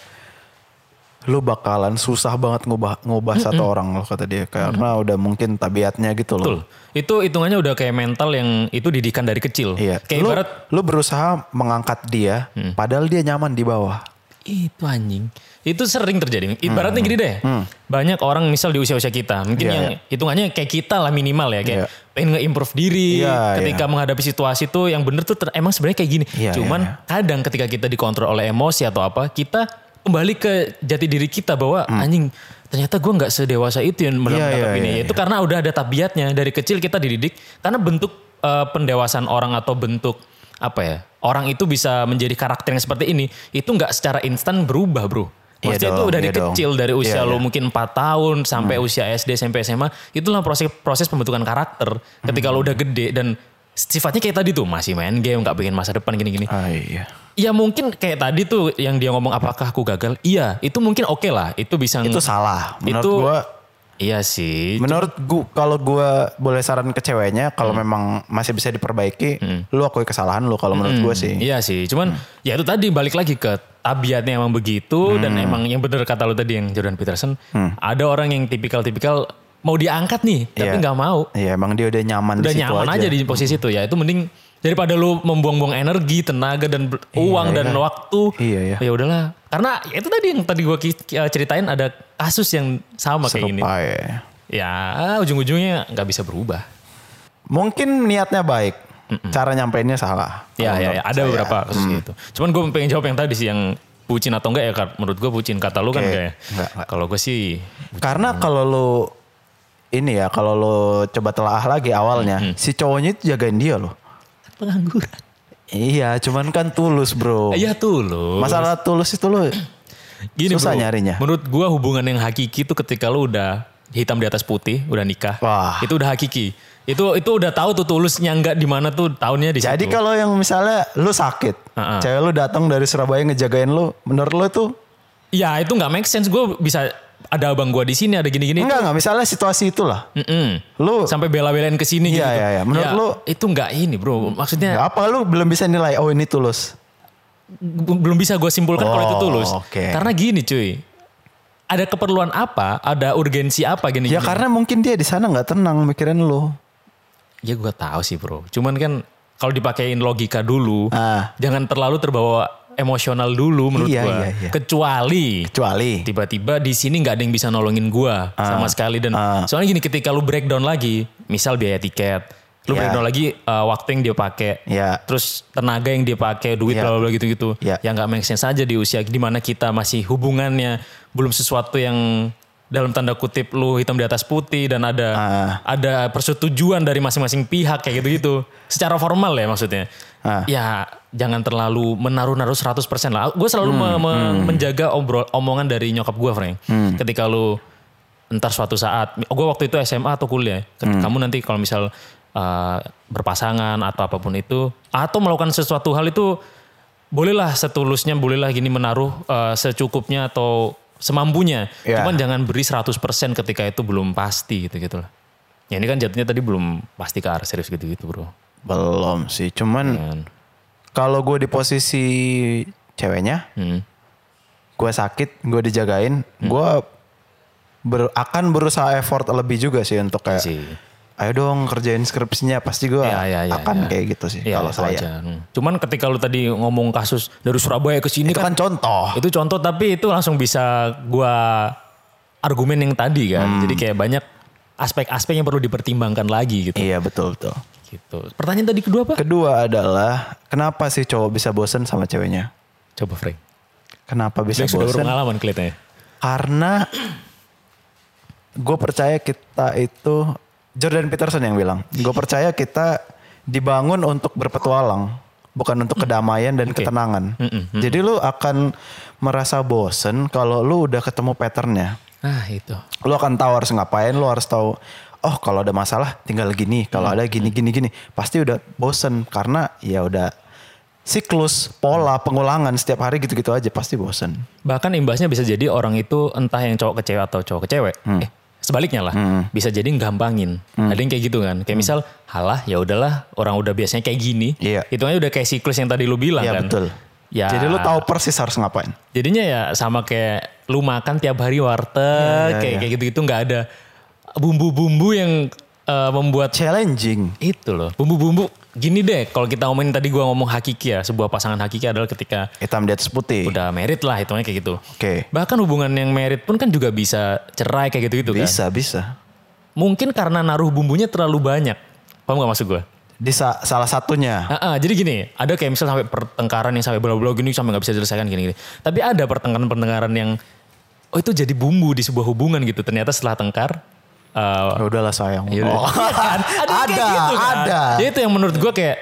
lu bakalan susah banget ngubah ngubah satu orang loh kata dia karena udah mungkin tabiatnya gitu loh.
Betul. Itu hitungannya udah kayak mental yang itu didikan dari kecil.
Iya.
Kayak
lu,
ibarat Mm.
lu berusaha mengangkat dia padahal dia nyaman di bawah.
itu anjing. Itu sering terjadi. Ibaratnya gini deh. Banyak orang misal di usia-usia kita, mungkin
Hmm, Iya,
yang hitungannya kayak kita lah minimal ya, kayak pengen nge-improve diri
Iya,
ketika menghadapi situasi tuh yang bener tuh ter- emang sebenarnya kayak gini.
Iya,
Cuman
iya,
kadang ketika kita dikontrol oleh emosi atau apa, kita kembali ke jati diri kita bahwa
Hmm.
anjing ternyata gue nggak sedewasa itu yang
Iya,
menangkap
iya,
ini.
iya,
itu karena udah ada tabiatnya dari kecil kita dididik karena bentuk eh, pendewasaan orang atau bentuk apa ya orang itu bisa menjadi karakter yang seperti ini itu nggak secara instan berubah bro. Maksudnya
Iya
itu
dong,
dari
iya dong.
kecil dari usia
Iya, Hmm.
lo mungkin 4 tahun sampai usia SD SMP SMA itulah proses proses pembentukan karakter ketika
Hmm.
lo udah gede dan sifatnya kayak tadi tuh masih main game nggak bikin masa depan gini-gini
Ah iya.
Ya mungkin kayak tadi tuh yang dia ngomong apakah aku gagal? Iya, itu mungkin oke lah. Itu bisa
Itu salah menurut
Itu-
gua.
Iya sih.
Menurut gua kalau gua boleh saran ke ceweknya kalau
Hmm.
memang masih bisa diperbaiki, lu akui kesalahan lu kalau menurut gua sih.
Iya sih. Cuman
Hmm.
ya itu tadi balik lagi ke tabiatnya emang begitu dan emang yang bener kata lu tadi yang Jordan Peterson, ada orang yang tipikal-tipikal mau diangkat nih tapi
Hmm. Iya.
nggak mau.
Iya, emang dia udah nyaman
Udah
di situ
nyaman aja. di posisi itu ya. Itu mending daripada lu membuang-buang energi, tenaga dan ber- uang dan waktu.
Iya, iya.
Ya udahlah. Karena ya itu tadi yang tadi gua ki- ki- ceritain ada kasus yang sama kayak ini.
Serupa ya.
ya ujung-ujungnya nggak bisa berubah.
Mungkin niatnya baik, cara nyampeinnya salah.
Ya,
Kalau
ya, ya.
menurut
ada
saya. hmm.
beberapa kasus gitu. Cuman gue pengen jawab yang tadi sih yang bucin atau enggak ya Kak. menurut gue bucin kata lu kan
Oke.
enggak ya.
Enggak, enggak.
Kalau gue sih
Karena
Hmm.
kalau lu ini ya, kalau lu coba telaah lagi awalnya, si cowoknya itu jagain dia loh.
pengangguran.
Iya, cuman kan tulus bro.
Iya tuh lo.
Masalah tulus itu lu
Gini bro,
susah nyarinya.
Menurut gue hubungan yang hakiki itu ketika lu udah hitam di atas putih, udah nikah.
Wah.
Itu udah hakiki. Itu itu udah tahu tuh tulusnya enggak di mana tuh tahunnya di situ.
Jadi kalau yang misalnya lu sakit,
Ha-ha.
cewek lu datang dari Surabaya ngejagain lu, menurut lu itu
Ya itu nggak make sense. Gue bisa ada abang gue di sini, ada gini-gini.
enggak enggak misalnya situasi itulah.
Mm-mm.
Lu
Sampai bela-belain ke sini
Iya,
gitu.
iya, iya. Menurut
Ya,
lu-
itu nggak ini, Bro. Maksudnya
apa lu belum bisa nilai oh ini tulus.
B- belum bisa gue simpulkan kalau itu
Oh,
tulus.
oke.
Karena gini cuy, ada keperluan apa, ada urgensi apa gini?
Ya
gini.
karena mungkin dia di sana nggak tenang mikirin lu.
Ya gue tahu sih bro. Cuman kan kalau dipakein logika dulu,
Ah.
jangan terlalu terbawa emosional dulu menurut
Iya,
gue.
iya, iya.
Kecuali
Kecuali
tiba-tiba di sini nggak ada yang bisa nolongin gue sama sekali dan soalnya gini ketika lu breakdown lagi, misal biaya tiket, lu
Iya.
breakdown lagi uh, waktu yang dia pakai,
Iya.
terus tenaga yang dia pakai, duit
Iya.
bla bla bla gitu-gitu.
Iya.
Yang nggak make sense aja di usia di mana kita masih hubungannya belum sesuatu yang dalam tanda kutip lu hitam di atas putih dan ada
Ah.
ada persetujuan dari masing-masing pihak kayak gitu-gitu. Secara formal ya maksudnya.
Ah.
Ya jangan terlalu menaruh-naruh 100% lah. Gue selalu me- me- menjaga obrol omongan dari nyokap gue, Frank. Ketika lu entar suatu saat, gue waktu itu SMA atau kuliah, ket- kamu nanti kalau misal uh, berpasangan atau apapun itu, atau melakukan sesuatu hal itu bolehlah setulusnya, bolehlah gini menaruh uh, secukupnya atau semampunya.
Ya.
Cuman jangan beri 100% ketika itu belum pasti gitu-gitu lah. Ya ini kan jatuhnya tadi belum pasti ke arah serius gitu-gitu bro.
belum sih. Cuman
Kan.
kalau gue di posisi ceweknya,
Hmm.
gue sakit, gue dijagain, gue ber- akan berusaha effort lebih juga sih untuk kayak,
Sih.
ayo dong kerjain skripsinya, pasti gue
Ya, ya, ya,
akan
ya.
kayak gitu sih
Iya,
kalau
itu aja.
saya.
Hmm. Cuman ketika lu tadi ngomong kasus dari Surabaya ke sini
Itu kan contoh.
Itu contoh tapi itu langsung bisa gua argumen yang tadi kan.
Hmm.
Jadi kayak banyak aspek-aspek yang perlu dipertimbangkan lagi gitu.
Iya betul betul.
Gitu. Pertanyaan tadi kedua apa?
Kedua adalah kenapa sih cowok bisa bosen sama ceweknya?
Coba Frank.
Kenapa bisa
Frank sudah
bosen?
berpengalaman kelihatannya.
Karena gue percaya kita itu Jordan Peterson yang bilang. Gue percaya kita dibangun untuk berpetualang, bukan untuk kedamaian dan ketenangan. Jadi lu akan merasa bosen kalau lu udah ketemu patternnya.
Ah, itu.
Lu akan tahu harus ngapain, lu harus tahu. Oh kalau ada masalah tinggal gini, kalau ada gini gini gini pasti udah bosen karena ya udah siklus, pola, pengulangan setiap hari gitu-gitu aja pasti bosen.
Bahkan imbasnya bisa jadi orang itu entah yang cowok ke cewek atau cowok ke cewek.
Hmm.
Eh, sebaliknya lah. Bisa jadi nggampangin. Ada yang kayak gitu kan. Kayak misal, halah ya udahlah orang udah biasanya kayak gini.
Hmm. Iya.
Hitungannya udah kayak siklus yang tadi lu bilang
Iya
kan.
betul.
Ya,
Jadi lu tahu persis harus ngapain.
Jadinya ya sama kayak lu makan tiap hari warteg
Iya,
kayak kayak gitu-gitu nggak ada bumbu-bumbu yang eh, membuat
Challenging.
itu loh. Bumbu-bumbu gini deh kalau kita ngomongin tadi gua ngomong hakiki ya, sebuah pasangan hakiki adalah ketika
Hitam di atas putih.
udah merit lah hitungnya kayak gitu.
Iya. Oke.
Bahkan hubungan yang merit pun kan juga bisa cerai kayak gitu-gitu kan.
Bisa, bisa.
Mungkin karena naruh bumbunya terlalu banyak. Paham gak maksud gue?
Di sa- salah satunya.
Ah, ah, jadi gini, ada kayak misal sampai pertengkaran yang sampai bola-bola gini sampai nggak bisa diselesaikan gini-gini. Tapi ada pertengkaran-pertengkaran yang oh itu jadi bumbu di sebuah hubungan gitu. Ternyata setelah tengkar eh,
Ya udahlah sayang.
Iya,
Oh.
iya kan?
ada,
yang kayak gitu kan?
ada.
Ya itu yang menurut gue kayak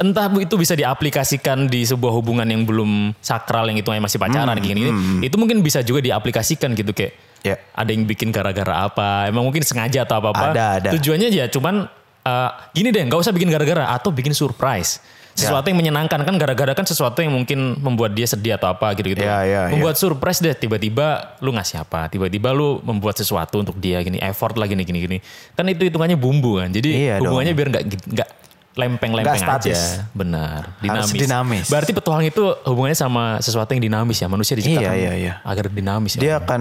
entah itu bisa diaplikasikan di sebuah hubungan yang belum sakral yang hitungannya masih pacaran kayak gini. Itu mungkin bisa juga diaplikasikan gitu kayak
Hmm, Ya.
ada yang bikin gara-gara apa? Emang mungkin sengaja atau apa-apa?
Ada, ada.
Tujuannya ya cuman eh, gini deh, nggak usah bikin gara-gara atau bikin surprise.
Ya.
Sesuatu yang menyenangkan kan gara-gara kan sesuatu yang mungkin membuat dia sedih atau apa gitu-gitu.
Ya, ya, ya.
membuat surprise deh tiba-tiba lu ngasih apa? Tiba-tiba lu membuat sesuatu untuk dia gini, effort lah gini gini gini. Kan itu hitungannya bumbu kan. Jadi
Iya dong.
hubungannya biar nggak nggak lempeng-lempeng
Nggak statis.
aja. Benar, dinamis.
Harus dinamis.
Berarti petualang itu hubungannya sama sesuatu yang dinamis ya. Manusia diciptakan
Iya, iya, iya.
agar dinamis ya.
Dia akan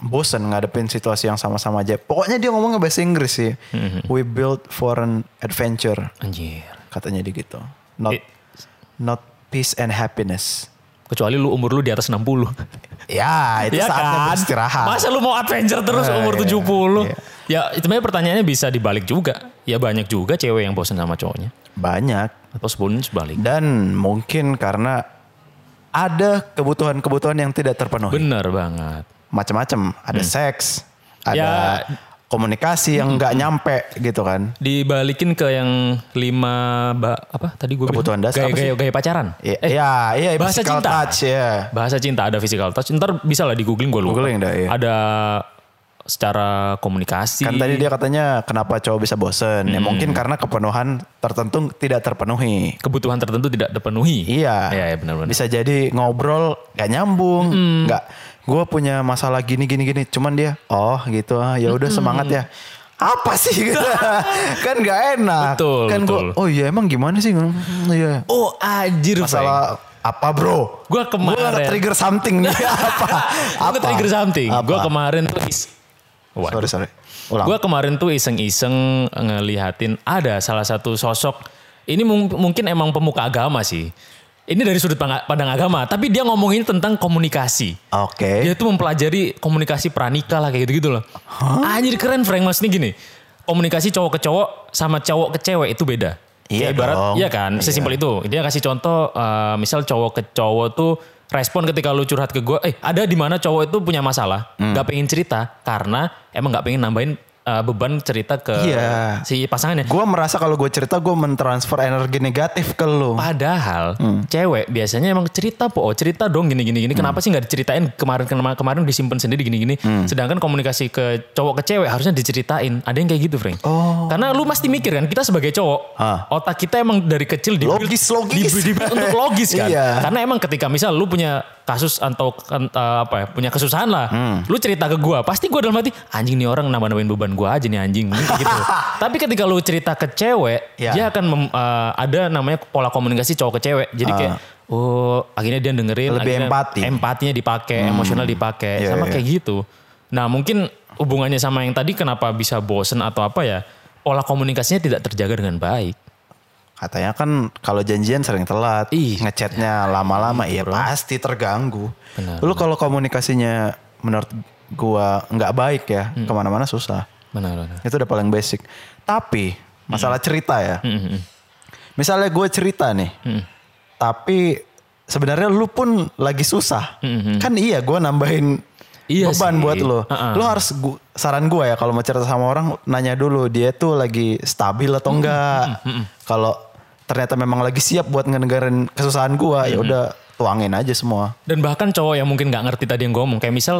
bosen ngadepin situasi yang sama-sama aja. Pokoknya dia ngomongnya bahasa Inggris sih.
Mhm.
We built for an adventure.
Anjir.
Katanya dia gitu. Not,
Eh.
not peace and happiness.
Kecuali lu umur lu di atas 60.
Ya, *laughs* itu
Iya
saatnya
kan?
beristirahat.
Masa lu mau adventure terus
Eh,
umur
iya,
70?
iya.
Ya, sebenarnya pertanyaannya bisa dibalik juga. Ya banyak juga cewek yang bosen sama cowoknya.
Banyak.
Atau sebelumnya
Oh,
sebalik.
Dan mungkin karena ada kebutuhan-kebutuhan yang tidak terpenuhi.
Bener banget.
Macam-macam. Ada seks, ada
Hmm. Ya. Hmm.
komunikasi yang nggak nyampe gitu kan.
dibalikin ke yang lima ba- apa tadi gue
Kebutuhan dasar
gaya,
apa sih?
gaya, gaya pacaran
Iya, iya, iya,
Eh, bahasa
physical
cinta.
touch, iya.
bahasa cinta ada physical touch ntar bisa lah di googling gue lupa
Googling dah, iya.
ada secara komunikasi
Kan tadi dia katanya kenapa cowok bisa bosen.
Hmm.
Ya mungkin karena kepenuhan tertentu tidak terpenuhi.
kebutuhan tertentu tidak terpenuhi
Iya.
iya Hmm. ya, benar-benar
Bisa jadi ngobrol gak nyambung, nggak. Gue punya masalah gini gini gini. Cuman dia, oh gitu. ah, Ya
Hmm.
udah semangat ya. Apa sih *laughs* gitu? kan gak enak.
Betul,
kan gua,
betul.
oh iya emang gimana sih? Hmm, Iya.
oh anjir
Masalah apa bro?
Gua kemarin-
Gue trigger something
*laughs*
nih. apa?
Apa?
Apa?
trigger something.
Apa?
Gue kemarin tuh is... Waduh.
Sorry, sorry. Ulang.
Gue kemarin tuh iseng-iseng ngelihatin ada salah satu sosok. Ini mung- mungkin emang pemuka agama sih. Ini dari sudut pang- pandang agama. Tapi dia ngomongin tentang komunikasi.
Oke.
Dia tuh mempelajari komunikasi pranikah lah kayak gitu-gitu loh. Anjir keren Frank. Maksudnya gini. Komunikasi cowok ke cowok sama cowok ke cewek itu beda.
Iya
Kayak ibarat,
dong.
iya kan, sesimpel itu. Dia kasih contoh, eh, misal cowok ke cowok tuh respon ketika lu curhat ke gue, eh ada di mana cowok itu punya masalah,
Hmm.
nggak pengen cerita karena emang nggak pengen nambahin eh, beban cerita ke
Iya.
si pasangannya.
Gue merasa kalau gue cerita gue mentransfer energi negatif ke lu.
Padahal
Hmm.
cewek biasanya emang cerita po, oh, cerita dong gini gini gini. Kenapa sih nggak diceritain kemarin kemarin kemarin disimpan sendiri gini gini.
Hmm.
Sedangkan komunikasi ke cowok ke cewek harusnya diceritain. Ada yang kayak gitu, Frank.
Oh.
Karena lu pasti mikir kan, kita sebagai cowok,
Hah.
otak kita emang dari kecil di
Logis, logis.
untuk logis kan.
Iya.
Karena emang ketika misal lu punya kasus atau kan, eh, apa ya, punya kesusahan lah,
Hmm.
lu cerita ke gua, pasti gua dalam hati anjing nih orang nambah-nambahin beban gua aja nih anjing Mungkin kayak gitu.
*laughs*
Tapi ketika lu cerita ke cewek,
Iya.
dia akan mem- eh, ada namanya pola komunikasi cowok ke cewek. Jadi kayak oh akhirnya dia dengerin
Ah. Lebih
akhirnya
empati. Hmm.
Empatinya dipakai, emosional dipakai.
Iya,
sama
iya.
kayak gitu. Nah, mungkin hubungannya sama yang tadi kenapa bisa bosen atau apa ya? Pola komunikasinya tidak terjaga dengan baik.
Katanya kan kalau janjian sering telat,
Ih.
ngechatnya lama-lama, ya pasti terganggu.
Benar,
Lu kalau komunikasinya menurut gua nggak baik ya,
Hmm.
kemana-mana susah.
Benar, benar.
Itu udah paling basic. Tapi masalah cerita ya,
Mm-hmm.
misalnya gue cerita nih, tapi sebenarnya lu pun lagi susah, kan iya gua nambahin
Mm-hmm. Iya
beban
sih.
buat lo.
Uh-uh.
Lu harus gu- saran gue ya kalau mau cerita sama orang nanya dulu dia tuh lagi stabil
Mm-hmm.
atau enggak. Kalau ternyata memang lagi siap buat ngedengerin
Mm-hmm.
kesusahan gua ya udah tuangin aja semua.
Dan bahkan cowok yang mungkin nggak ngerti tadi yang gue ngomong. Kayak misal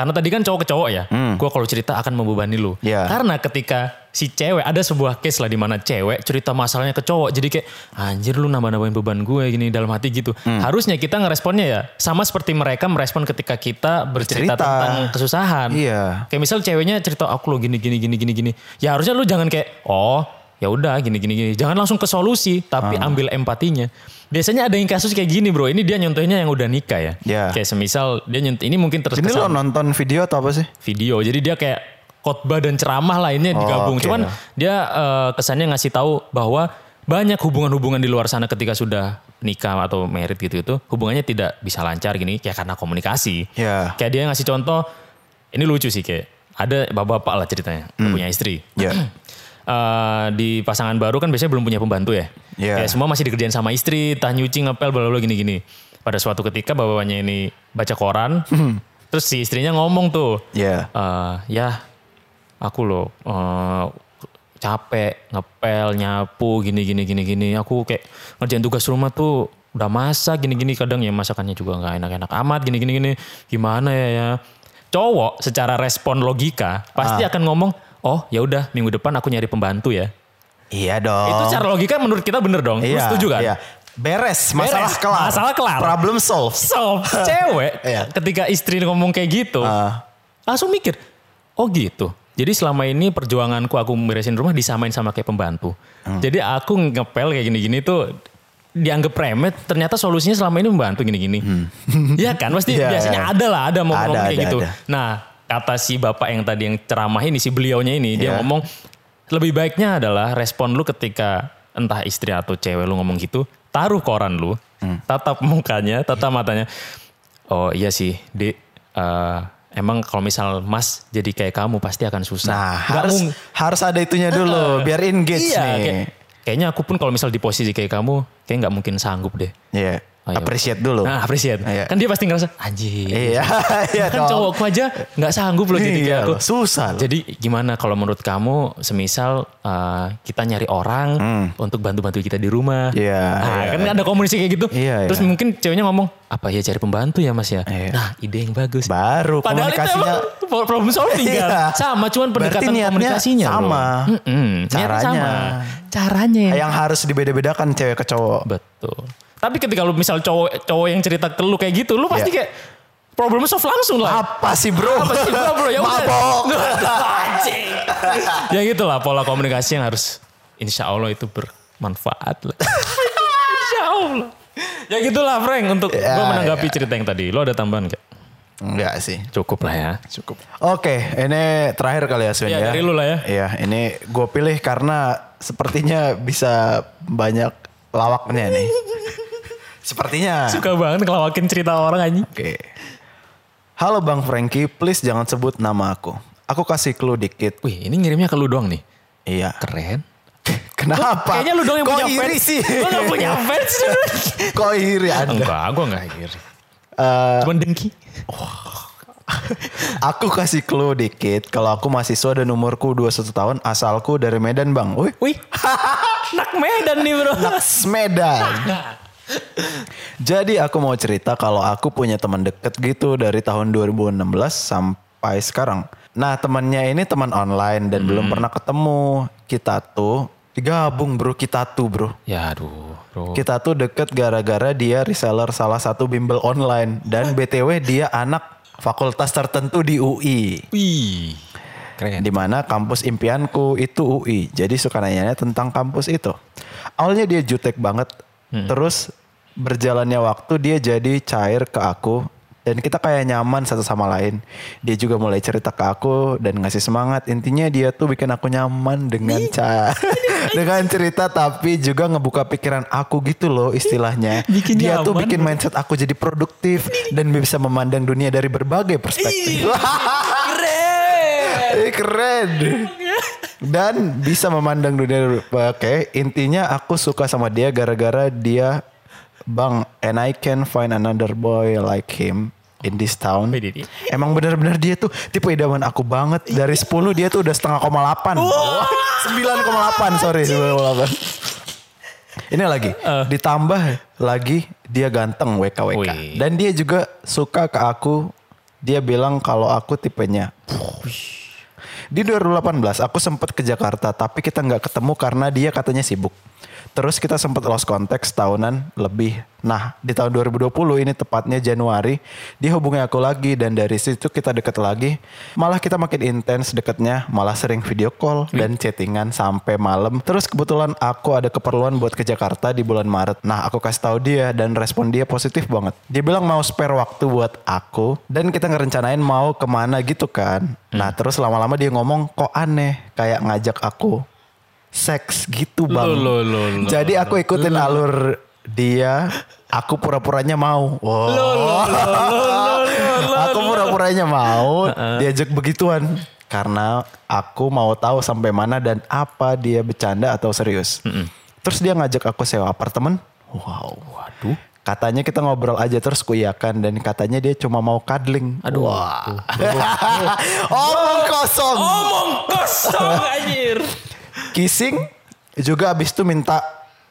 Karena tadi kan cowok ke cowok ya. Gue kalau cerita akan membebani lu.
Hmm. Iya.
Karena ketika si cewek ada sebuah case lah di mana cewek cerita masalahnya ke cowok. Jadi kayak anjir lu nambah-nambahin beban gue gini dalam hati gitu.
Hmm.
Harusnya kita ngeresponnya ya sama seperti mereka merespon ketika kita bercerita
Bercerita.
tentang kesusahan.
Iya.
Kayak misal ceweknya cerita aku lo gini gini gini gini gini. Ya harusnya lu jangan kayak oh ya udah gini gini gini. Jangan langsung ke solusi tapi ambil empatinya. Biasanya ada yang kasus kayak gini bro. Ini dia nyontohnya yang udah nikah ya.
Iya.
Kayak semisal dia nyont ini mungkin terus
Ini lo nonton video atau apa sih?
video. Jadi dia kayak khotbah dan ceramah lainnya digabung.
Oh, oke.
Cuman dia eh, kesannya ngasih tahu bahwa banyak hubungan-hubungan di luar sana ketika sudah nikah atau married gitu itu hubungannya tidak bisa lancar gini ya karena komunikasi.
Ya.
Kayak dia ngasih contoh ini lucu sih kayak ada bapak-bapak lah ceritanya
Hmm.
punya istri.
Ya.
*clears throat* Eh, di pasangan baru kan biasanya belum punya pembantu ya.
Iya.
Kayak semua masih dikerjain sama istri, tah nyuci, ngepel, bla bla bla, gini-gini. Pada suatu ketika bapaknya ini baca koran,
Hmm.
terus si istrinya ngomong tuh,
Iya.
"Eh, ya aku loh eh, capek ngepel, nyapu, gini gini gini gini. Aku kayak ngerjain tugas rumah tuh udah masak gini gini kadang ya masakannya juga nggak enak-enak amat gini gini gini. Gimana ya ya? Cowok secara respon logika
Ah.
pasti akan ngomong, "Oh, ya udah minggu depan aku nyari pembantu ya."
Iya dong.
Itu secara logika menurut kita bener dong. Lu setuju kan?
iya. Beres, masalah
Beres,
kelar.
masalah kelar.
Problem solved.
So, cewek
*laughs* Iya.
ketika istri ngomong kayak gitu,
Ah.
langsung mikir, oh gitu. Jadi selama ini perjuanganku aku beresin rumah disamain sama kayak pembantu.
Hmm.
Jadi aku ngepel kayak gini-gini tuh dianggap remeh, ternyata solusinya selama ini membantu gini-gini. Iya kan? Pasti
Hmm. Iya,
biasanya
iya.
ada lah, ada momen
Ada,
kayak
ada,
gitu.
ada.
Nah, kata si bapak yang tadi yang ceramah ini, si beliaunya ini, dia
Iya.
ngomong lebih baiknya adalah respon lu ketika entah istri atau cewek lu ngomong gitu, taruh koran lu,
Hmm.
tatap *laughs* mukanya, tatap matanya. Oh iya sih, Dek. eh, emang kalau misal Mas jadi kayak kamu pasti akan susah.
Nah,
Nggak
harus
mung-
harus ada itunya dulu biar engage
iya,
nih.
kayak- kayaknya aku pun kalau misal di posisi kayak kamu, kayak nggak mungkin sanggup deh.
Iya.
Ayo.
Appreciate dulu.
Nah, appreciate.
Iya.
Kan dia pasti ngerasa, anjir.
Iya, *laughs* iya
kan
dong.
cowokku aja nggak sanggup loh jadi
Iya
kayak aku.
loh, susah loh.
Jadi gimana kalau menurut kamu, semisal eh, kita nyari orang untuk bantu-bantu kita di rumah.
Hmm. Iya,
Nah,
iya.
kan ada komunikasi kayak gitu.
Iya,
Terus
iya.
mungkin ceweknya ngomong, apa ya cari pembantu ya mas ya?
Iya.
Nah, ide yang bagus.
Baru
Padahal itu
komunikasinya
emang problem solving kan?
*laughs* Iya.
Sama, cuman pendekatan
Berarti niatnya
komunikasinya. loh.
sama.
Mm-mm, niatnya
Caranya.
sama. Caranya yang
eh, yang harus dibeda-bedakan cewek ke cowok.
Betul. Tapi ketika lu misal cowok cowok yang cerita ke lu kayak gitu, lu pasti
Iya.
kayak problemnya solve langsung lah.
Apa sih bro?
Apa sih gua, bro? Ya udah.
Mabok.
*laughs* Anjing. ya gitulah pola komunikasi yang harus insya Allah itu bermanfaat lah. insya Allah. Ya gitulah Frank untuk
Ya,
gua menanggapi cerita yang tadi. Lu ada tambahan gak?
Enggak sih.
Cukup lah ya.
Cukup. Oke, ini terakhir kali ya Swin
Iya,
ya.
dari lu lah ya.
Iya, ini gue pilih karena sepertinya bisa banyak lawaknya
*laughs*
nih. sepertinya.
Suka banget ngelawakin cerita orang anjing.
Oke. Halo Bang Frankie, please jangan sebut nama aku. Aku kasih clue dikit.
Wih ini ngirimnya ke lu doang nih.
Iya.
Keren.
Kenapa?
Kayaknya lu doang yang
Kok
punya
iri
fans.
sih? *laughs*
Lu gak punya fans.
Kok iri Anda?
enggak, gua gak iri.
Eh,
Cuman dengki.
aku kasih clue dikit. Kalau aku mahasiswa dan umurku 21 tahun, asalku dari Medan, Bang. Wih, *laughs*
Wih, nak Medan nih bro.
Naks Medan. Jadi aku mau cerita kalau aku punya teman deket gitu dari tahun 2016 sampai sekarang. Nah temannya ini teman online dan belum pernah ketemu. Kita tuh digabung bro, kita tuh bro.
Ya aduh bro.
Kita tuh deket gara-gara dia reseller salah satu bimbel online. Dan BTW dia anak fakultas tertentu di UI.
Wih, keren.
Di mana kampus impianku itu UI. Jadi suka nanya tentang kampus itu. Awalnya dia jutek banget.
Hmm.
Terus berjalannya waktu dia jadi cair ke aku. Dan kita kayak nyaman satu sama lain. Dia juga mulai cerita ke aku dan ngasih semangat. Intinya dia tuh bikin aku nyaman dengan
*laughs*
ca dengan cerita tapi juga ngebuka pikiran aku gitu loh istilahnya.
Bikin
dia tuh
nyaman,
bikin mindset aku jadi produktif dan bisa memandang dunia dari berbagai perspektif. Ih, Iya, keren. Dan bisa memandang dunia. Oke, intinya aku suka sama dia gara-gara dia Bang, and I can find another boy like him in this town.
Wih, Didi.
Emang benar-benar dia tuh tipe idaman aku banget. Dari 10 dia tuh udah setengah koma 8. 9,8 sorry 9,8. Ini lagi ditambah lagi dia ganteng WKWK
Wih.
dan dia juga suka ke aku Dia bilang kalau aku tipenya. Di 2018 aku sempat ke Jakarta tapi kita nggak ketemu karena dia katanya sibuk. Terus kita sempat lost contact tahunan lebih. Nah di tahun 2020 ini tepatnya Januari dia hubungi aku lagi dan dari situ kita deket lagi. Malah kita makin intens deketnya malah sering video call dan chattingan sampai malam. Terus kebetulan aku ada keperluan buat ke Jakarta di bulan Maret. Nah aku kasih tahu dia dan respon dia positif banget. Dia bilang mau spare waktu buat aku dan kita ngerencanain mau kemana gitu kan. Nah terus lama-lama dia ngomong kok aneh kayak ngajak aku seks gitu bang.
Lo, lo, lo, lo.
Jadi aku ikutin alur dia, aku pura-puranya mau. Wow. aku pura-puranya *laughs* mau diajak begituan karena aku mau tahu sampai mana dan apa dia bercanda atau serius. Terus dia ngajak aku sewa apartemen. Wow, waduh. Katanya kita ngobrol aja terus kuiyakan dan katanya dia cuma mau cuddling. Aduh. Wah. Omong kosong.
Omong
*laughs*
kosong anjir.
Kissing juga abis itu minta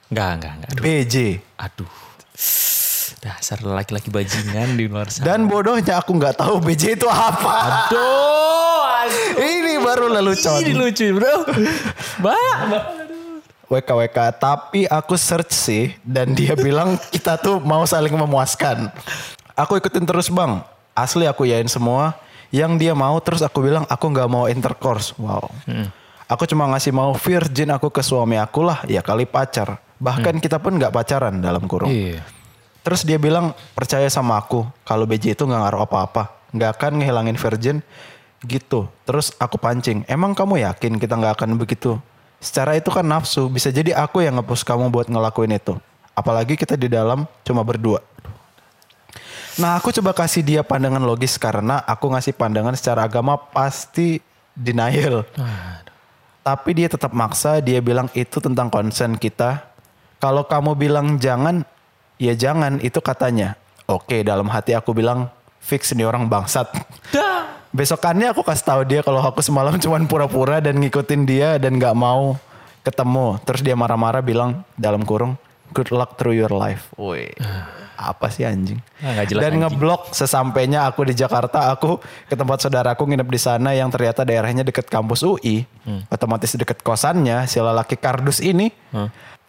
Enggak, enggak, enggak. Aduh.
BJ.
Aduh. Dasar laki-laki bajingan di luar sana.
Dan bodohnya aku nggak tahu BJ itu apa.
Aduh.
Ini baru lelucon.
Ini lucu bro. Mbak. mbak.
WKWK. Tapi aku search sih dan dia bilang kita tuh mau saling memuaskan. Aku ikutin terus bang. Asli aku yain semua. Yang dia mau terus aku bilang aku nggak mau intercourse. Wow. Aku cuma ngasih mau virgin aku ke suami aku lah. Ya kali pacar. Bahkan kita pun nggak pacaran dalam kurung.
Iya.
Terus dia bilang percaya sama aku kalau BJ itu nggak ngaruh apa-apa, nggak akan ngehilangin virgin gitu. Terus aku pancing, emang kamu yakin kita nggak akan begitu? Secara itu kan nafsu, bisa jadi aku yang ngepush kamu buat ngelakuin itu. Apalagi kita di dalam cuma berdua. Nah aku coba kasih dia pandangan logis karena aku ngasih pandangan secara agama pasti denial. Tapi dia tetap maksa, dia bilang itu tentang konsen kita. Kalau kamu bilang jangan, ya jangan, itu katanya. Oke, dalam hati aku bilang, fix ini orang bangsat. Besokannya aku kasih tahu dia kalau aku semalam *laughs* cuman pura-pura dan ngikutin dia dan nggak mau ketemu. Terus dia marah-marah bilang dalam kurung, good luck through your life. Woi, apa sih anjing?
Ah, nggak jelas
dan
anjing.
ngeblok sesampainya aku di Jakarta, aku ke tempat saudaraku nginep di sana yang ternyata daerahnya deket kampus UI, otomatis deket kosannya si lelaki kardus ini.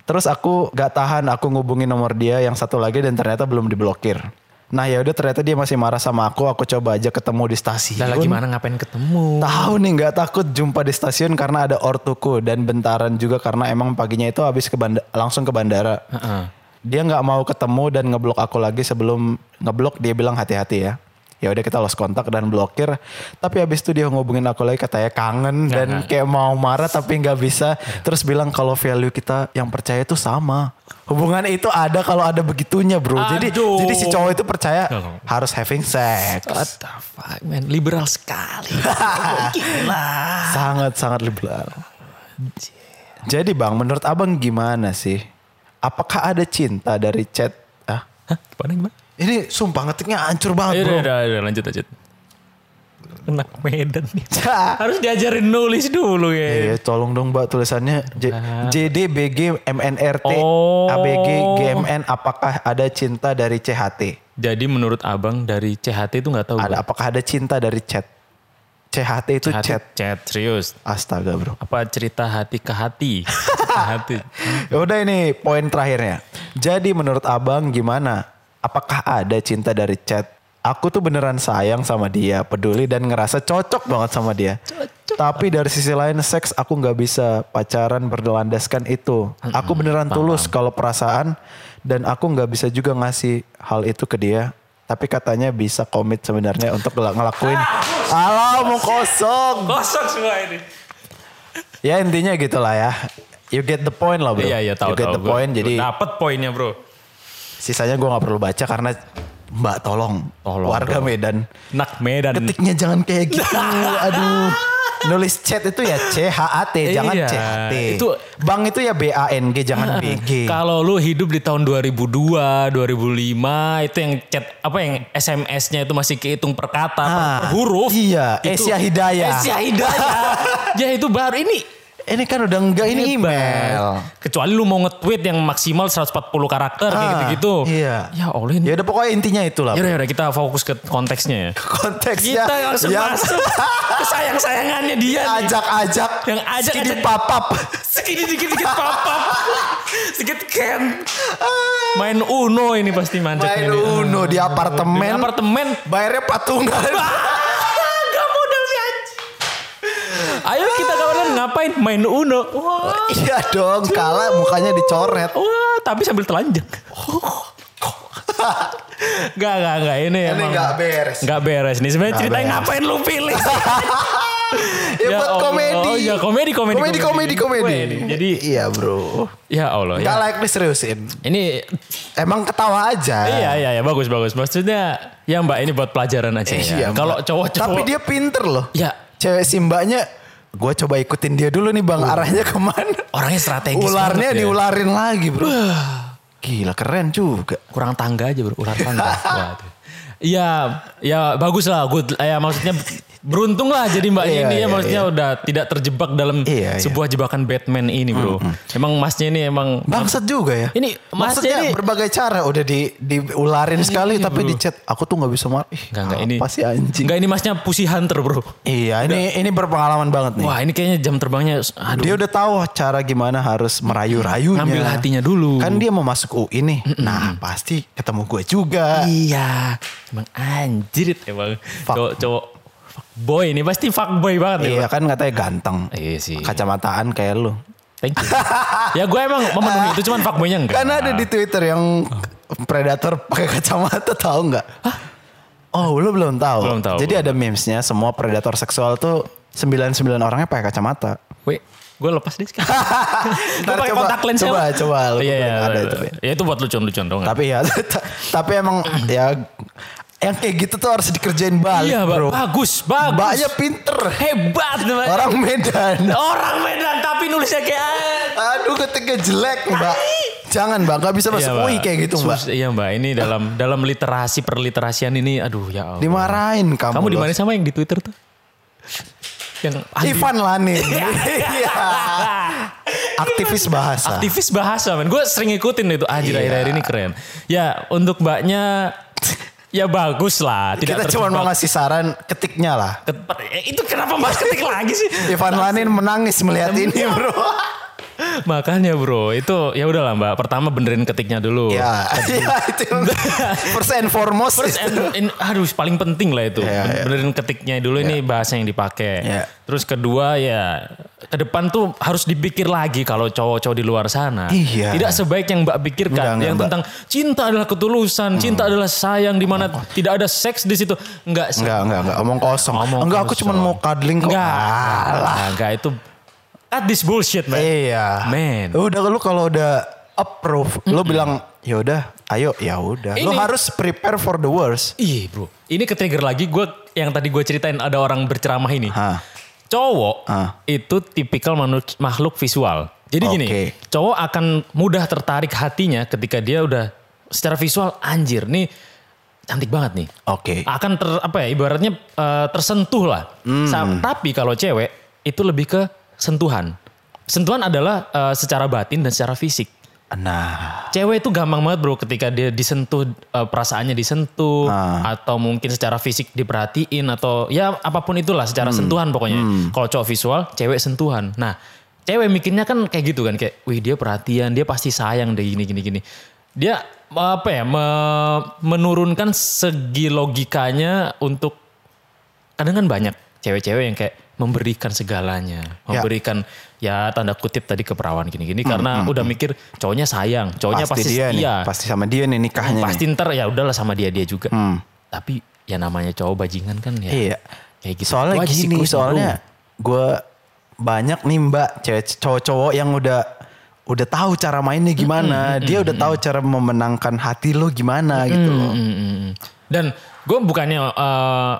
Terus aku gak tahan, aku ngubungin nomor dia yang satu lagi dan ternyata belum diblokir. Nah ya udah ternyata dia masih marah sama aku, aku coba aja ketemu di stasiun.
Lah lagi mana ngapain ketemu?
Tahu nih nggak takut jumpa di stasiun karena ada ortuku dan bentaran juga karena emang paginya itu habis ke banda- langsung ke bandara.
Heeh.
Dia nggak mau ketemu dan ngeblok aku lagi sebelum ngeblok dia bilang hati-hati ya. Ya udah kita lost kontak dan blokir. Tapi habis itu dia ngubungin aku lagi katanya kangen dan
Nah.
kayak mau marah tapi nggak bisa. Terus bilang kalau value kita yang percaya itu sama. Hubungan itu ada kalau ada begitunya bro. Jadi
Aduh.
jadi si cowok itu percaya harus having sex.
What the fuck man, liberal *laughs* sekali. Gila.
sangat sangat liberal. Jadi bang, menurut abang gimana sih? Apakah ada cinta dari chat? Ah,
Hah, gimana gimana?
ini sumpah ngetiknya hancur banget
Ayo,
bro.
udah, udah, udah, lanjut, lanjut. Enak Medan nih.
Cah.
*laughs* Harus diajarin nulis dulu ya.
Iya, tolong dong mbak tulisannya J- JDBG MNRT
Oh.
ABG GMN apakah ada cinta dari CHT?
Jadi menurut abang dari CHT itu nggak tahu. Bang.
Ada apakah ada cinta dari chat? CHT itu
Hati-
chat.
Chat serius.
Astaga bro.
Apa cerita hati ke hati? *laughs* Cerita hati.
Ya Udah ini poin terakhirnya. Jadi menurut abang gimana? Apakah ada cinta dari chat? Aku tuh beneran sayang sama dia, peduli dan ngerasa cocok banget sama dia. Tapi dari sisi lain seks aku nggak bisa pacaran berlandaskan itu. Aku beneran tulus kalau perasaan dan aku nggak bisa juga ngasih hal itu ke dia. Tapi katanya bisa komit sebenarnya untuk ngel- ngelakuin. Alah mau kosong.
Kosong semua ini.
Ya intinya gitulah ya. You get the point lah bro.
Iya iya tahu
you get
tahu.
the
Gua-
point.
gua
Jadi
dapat poinnya bro.
Sisanya gue nggak perlu baca karena Mbak tolong,
Tolong,
warga
tolong.
Medan.
Enak Medan.
Ketiknya jangan kayak gitu.
*laughs*
Aduh. Nulis chat itu ya C H A T jangan
Iya,
C H T.
itu-
Bang itu ya B A N G
*laughs*
jangan B G.
Kalau lu hidup di tahun 2002, 2005 itu yang chat apa yang SMS-nya itu masih kehitung per kata, per-
Ah,
per huruf.
iya, Asia Hidayah. *laughs*
Asia Hidayah. ya itu baru ini
Ini kan udah enggak ini email.
Kecuali lu mau nge-tweet yang maksimal 140 karakter kayak
Ah,
gitu-gitu.
Iya.
Ya Allah ini.
Ya udah pokoknya intinya itulah.
Ya udah kita fokus ke
*laughs*
konteksnya ya.
Konteksnya
Kita langsung
yang
masuk ke sayang-sayangannya
*laughs*
dia nih.
ajak-ajak
Yang ajak-
di
ajak. *laughs*
papap.
Segini dikit-dikit papap. Sedikit Ken.
Main Uno ini pasti manjaknya
Main
dia.
Uno di
Di
apartemen.
apartemen.
Bayarnya patungan. *laughs*
Gak modal sih anjing.
Ayo kita kawan ngapain main Uno. Wah,
iya dong, kalah mukanya dicoret.
wah tapi sambil telanjang. Gak, gak, gak. Ini,
Ini
emang
nggak beres.
Gak beres nih. Sebenarnya
Nggak
ceritanya
beres.
ngapain lu pilih?
ya, buat
Allah.
komedi.
Oh iya, komedi, komedi,
Komedi, komedi, komedi.
Komedi. Jadi
iya bro.
ya Allah ya.
Gak Eh. layak diseriusin.
Ini
Emang ketawa aja.
iya iya ya bagus bagus. Maksudnya ya Mbak ini buat pelajaran aja
Iya,
ya. Kalau
Mbak.
cowok-cowok
Tapi dia pinter loh.
Ya.
Cewek simbanya. Gue coba ikutin dia dulu nih bang. Arahnya kemana?
Uh. orangnya strategis.
Ularnya
banget ya.
diularin lagi bro. Gila keren juga.
kurang tangga aja bro, ular
*laughs*
tangga. Waduh. Iya, ya bagus lah. Good, ya maksudnya beruntung lah jadi mbak
Iya,
ini ya
iya,
maksudnya udah tidak terjebak dalam
Iya, iya.
sebuah jebakan Batman ini bro. Emang masnya ini emang
Bangsat juga ya.
Ini, Mas,
maksudnya
ini-
berbagai cara udah di diularin sekali tapi di chat aku tuh nggak bisa marah. Ih,
Enggak, enggak ini.
apa sih anjing?
Enggak ini masnya pussy hunter bro.
Iya, ini ini berpengalaman banget nih.
Wah ini kayaknya jam terbangnya, aduh.
Dia udah tahu cara gimana harus merayu-rayunya.
Ngambil hatinya dulu.
Kan dia mau masuk UI nih. Nah, pasti ketemu gue juga.
Iya, emang anjir emang
Fuck.
cowok cowok fuck boy ini pasti fuck boy banget nih.
Iya kan katanya ganteng.
Iya sih.
Kacamataan kayak lu.
Thank you. ya gue emang memenuhi itu cuman fuck boynya enggak. Oh.
Kan ada di Twitter yang predator pakai kacamata tahu nggak? Oh, lu belum tahu.
Belum tahu,
Jadi
belum
ada memesnya semua predator seksual tuh 99 orangnya pakai kacamata.
Wait, gue lepas deh
*laughs*
sekarang. gue
Ntar
pakai
coba-
kontak lens ya.
coba- coba, lu
Iya, iya,
kebetulan ada
ada
itu,
itu.
Ben.
Ya itu buat lucu-lucuan dong.
Tapi ya *laughs* ta- tapi emang ya yang kayak gitu tuh harus dikerjain balik,
Iya, Mbak.
Bro.
bagus, bagus.
Mbaknya pinter.
hebat Mbak.
Orang Medan.
Orang Medan tapi nulisnya kayak
Aduh ketika jelek mbak. Jangan mbak, gak bisa masuk
Iya, Mbak.
UI kayak gitu mbak.
Sus- Iya mbak, ini dalam dalam literasi perliterasian ini, aduh ya Allah.
Dimarahin kamu. Ah.
Kamu di
loh.
mana sama yang di Twitter tuh? Yang Andi-
Ivan Lani. Iya. Aktivis bahasa.
aktivis bahasa men. Gue sering ngikutin itu anjir
Iya.
akhir-akhir ini keren. Ya untuk mbaknya ya bagus lah. Tidak
Kita cuma mau
terjebak.
ngasih saran ketiknya lah.
Ket- eh, Itu kenapa mas ketik lagi sih?
Ivan Lanin menangis melihat ini bro.
*laughs* Makanya bro, itu ya udahlah mbak. Pertama benerin ketiknya dulu.
ya, ya itu. First and foremost.
First
itu.
and- and- aduh paling penting lah itu.
Iya,
Ben-
iya.
Benerin ketiknya dulu ini
Ya.
bahasa yang dipakai.
Iya.
Terus kedua ya ke depan tuh harus dipikir lagi kalau cowok-cowok di luar sana.
Iya.
Tidak sebaik yang Mbak pikirkan
Enggak, enggak,
yang
Mbak.
tentang cinta adalah ketulusan, cinta adalah sayang di mana tidak ada seks di situ. Enggak. se-
Enggak, enggak, enggak. Omong kosong.
Omong
enggak, aku
kosong.
cuma mau cuddling kok.
gitu.
Ah.
Enggak.
Alah.
Enggak, enggak itu at this bullshit, man.
Iya.
Man.
Udah lu kalau udah approve, lu bilang ya udah, ayo ya udah. Lu
Ini-
harus prepare for the worst.
Iya bro, ini ke trigger lagi gue yang tadi gue ceritain ada orang berceramah ini.
Hah.
Cowok
Hah.
itu tipikal manu- makhluk visual. Jadi gini,
Oke.
cowok akan mudah tertarik hatinya ketika dia udah secara visual anjir nih cantik banget nih.
Oke.
Akan ter apa ya ibaratnya eh, tersentuh lah.
Hmm.
Sa- Tapi kalau cewek itu lebih ke sentuhan. Sentuhan adalah eh, secara batin dan secara fisik.
Nah,
Cewek itu gampang banget bro ketika dia disentuh eh, perasaannya disentuh
Ah.
atau mungkin secara fisik diperhatiin atau ya apapun itulah secara sentuhan pokoknya. Kalau cowok visual, cewek sentuhan. Nah, cewek mikirnya kan kayak gitu kan kayak wih dia perhatian, dia pasti sayang deh gini gini gini. Dia apa ya me- menurunkan segi logikanya untuk kadang kan banyak cewek-cewek yang kayak memberikan segalanya,
Ya. Hmm,
memberikan ya tanda kutip tadi ke perawan gini-gini karena udah mikir cowoknya sayang, cowoknya
pasti,
pasti,
dia nih,
setia,
pasti sama dia nih nikahnya.
pasti
nih. Hmm.
ntar ya udahlah sama dia dia juga. Tapi ya namanya cowok bajingan kan ya.
Iya.
Kayak gitu.
Soalnya
Wah,
gini,
siklus,
soalnya gue banyak nih mbak cewek- cowok-cowok yang udah udah tahu cara mainnya gimana, dia udah tahu cara memenangkan hati lo gimana gitu
bro.
loh.
Mm, mm, mm. Dan gue bukannya eh,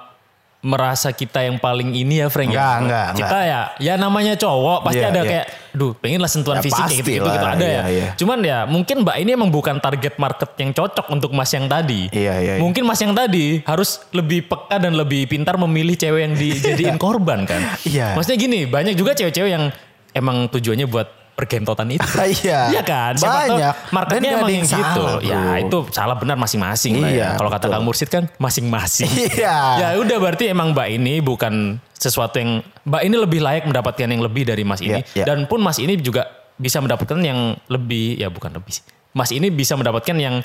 merasa kita yang paling ini ya Frank
Enggak,
ya.
enggak,
Kita ya ya namanya cowok pasti
Iya,
ada
iya.
kayak duh pengen lah sentuhan
Ya,
fisik kayak
pasti
gitu, gitu
lah,
ada
iya,
ya.
iya.
Cuman ya mungkin Mbak ini emang bukan target market yang cocok untuk Mas yang tadi.
Iya, iya, iya.
Mungkin Mas yang tadi harus lebih peka
*laughs*
dan lebih pintar memilih cewek yang dijadiin korban kan.
Iya.
Maksudnya gini, banyak juga cewek-cewek yang emang tujuannya buat pergentotan itu.
*laughs* Iya.
Iya kan? Siapa
Banyak.
Tahu marketnya
Dan gak
emang
ada
yang
yang
gitu.
salah,
ya
bro.
itu salah benar masing-masing lah ya.
Iya,
Kalau kata
betul.
Kang Mursid kan masing-masing.
Iya.
Ya udah berarti emang Mbak ini bukan sesuatu yang Mbak ini lebih layak mendapatkan yang lebih dari Mas ini
Iya, iya.
dan pun Mas ini juga bisa mendapatkan yang lebih ya bukan lebih sih. Mas ini bisa mendapatkan yang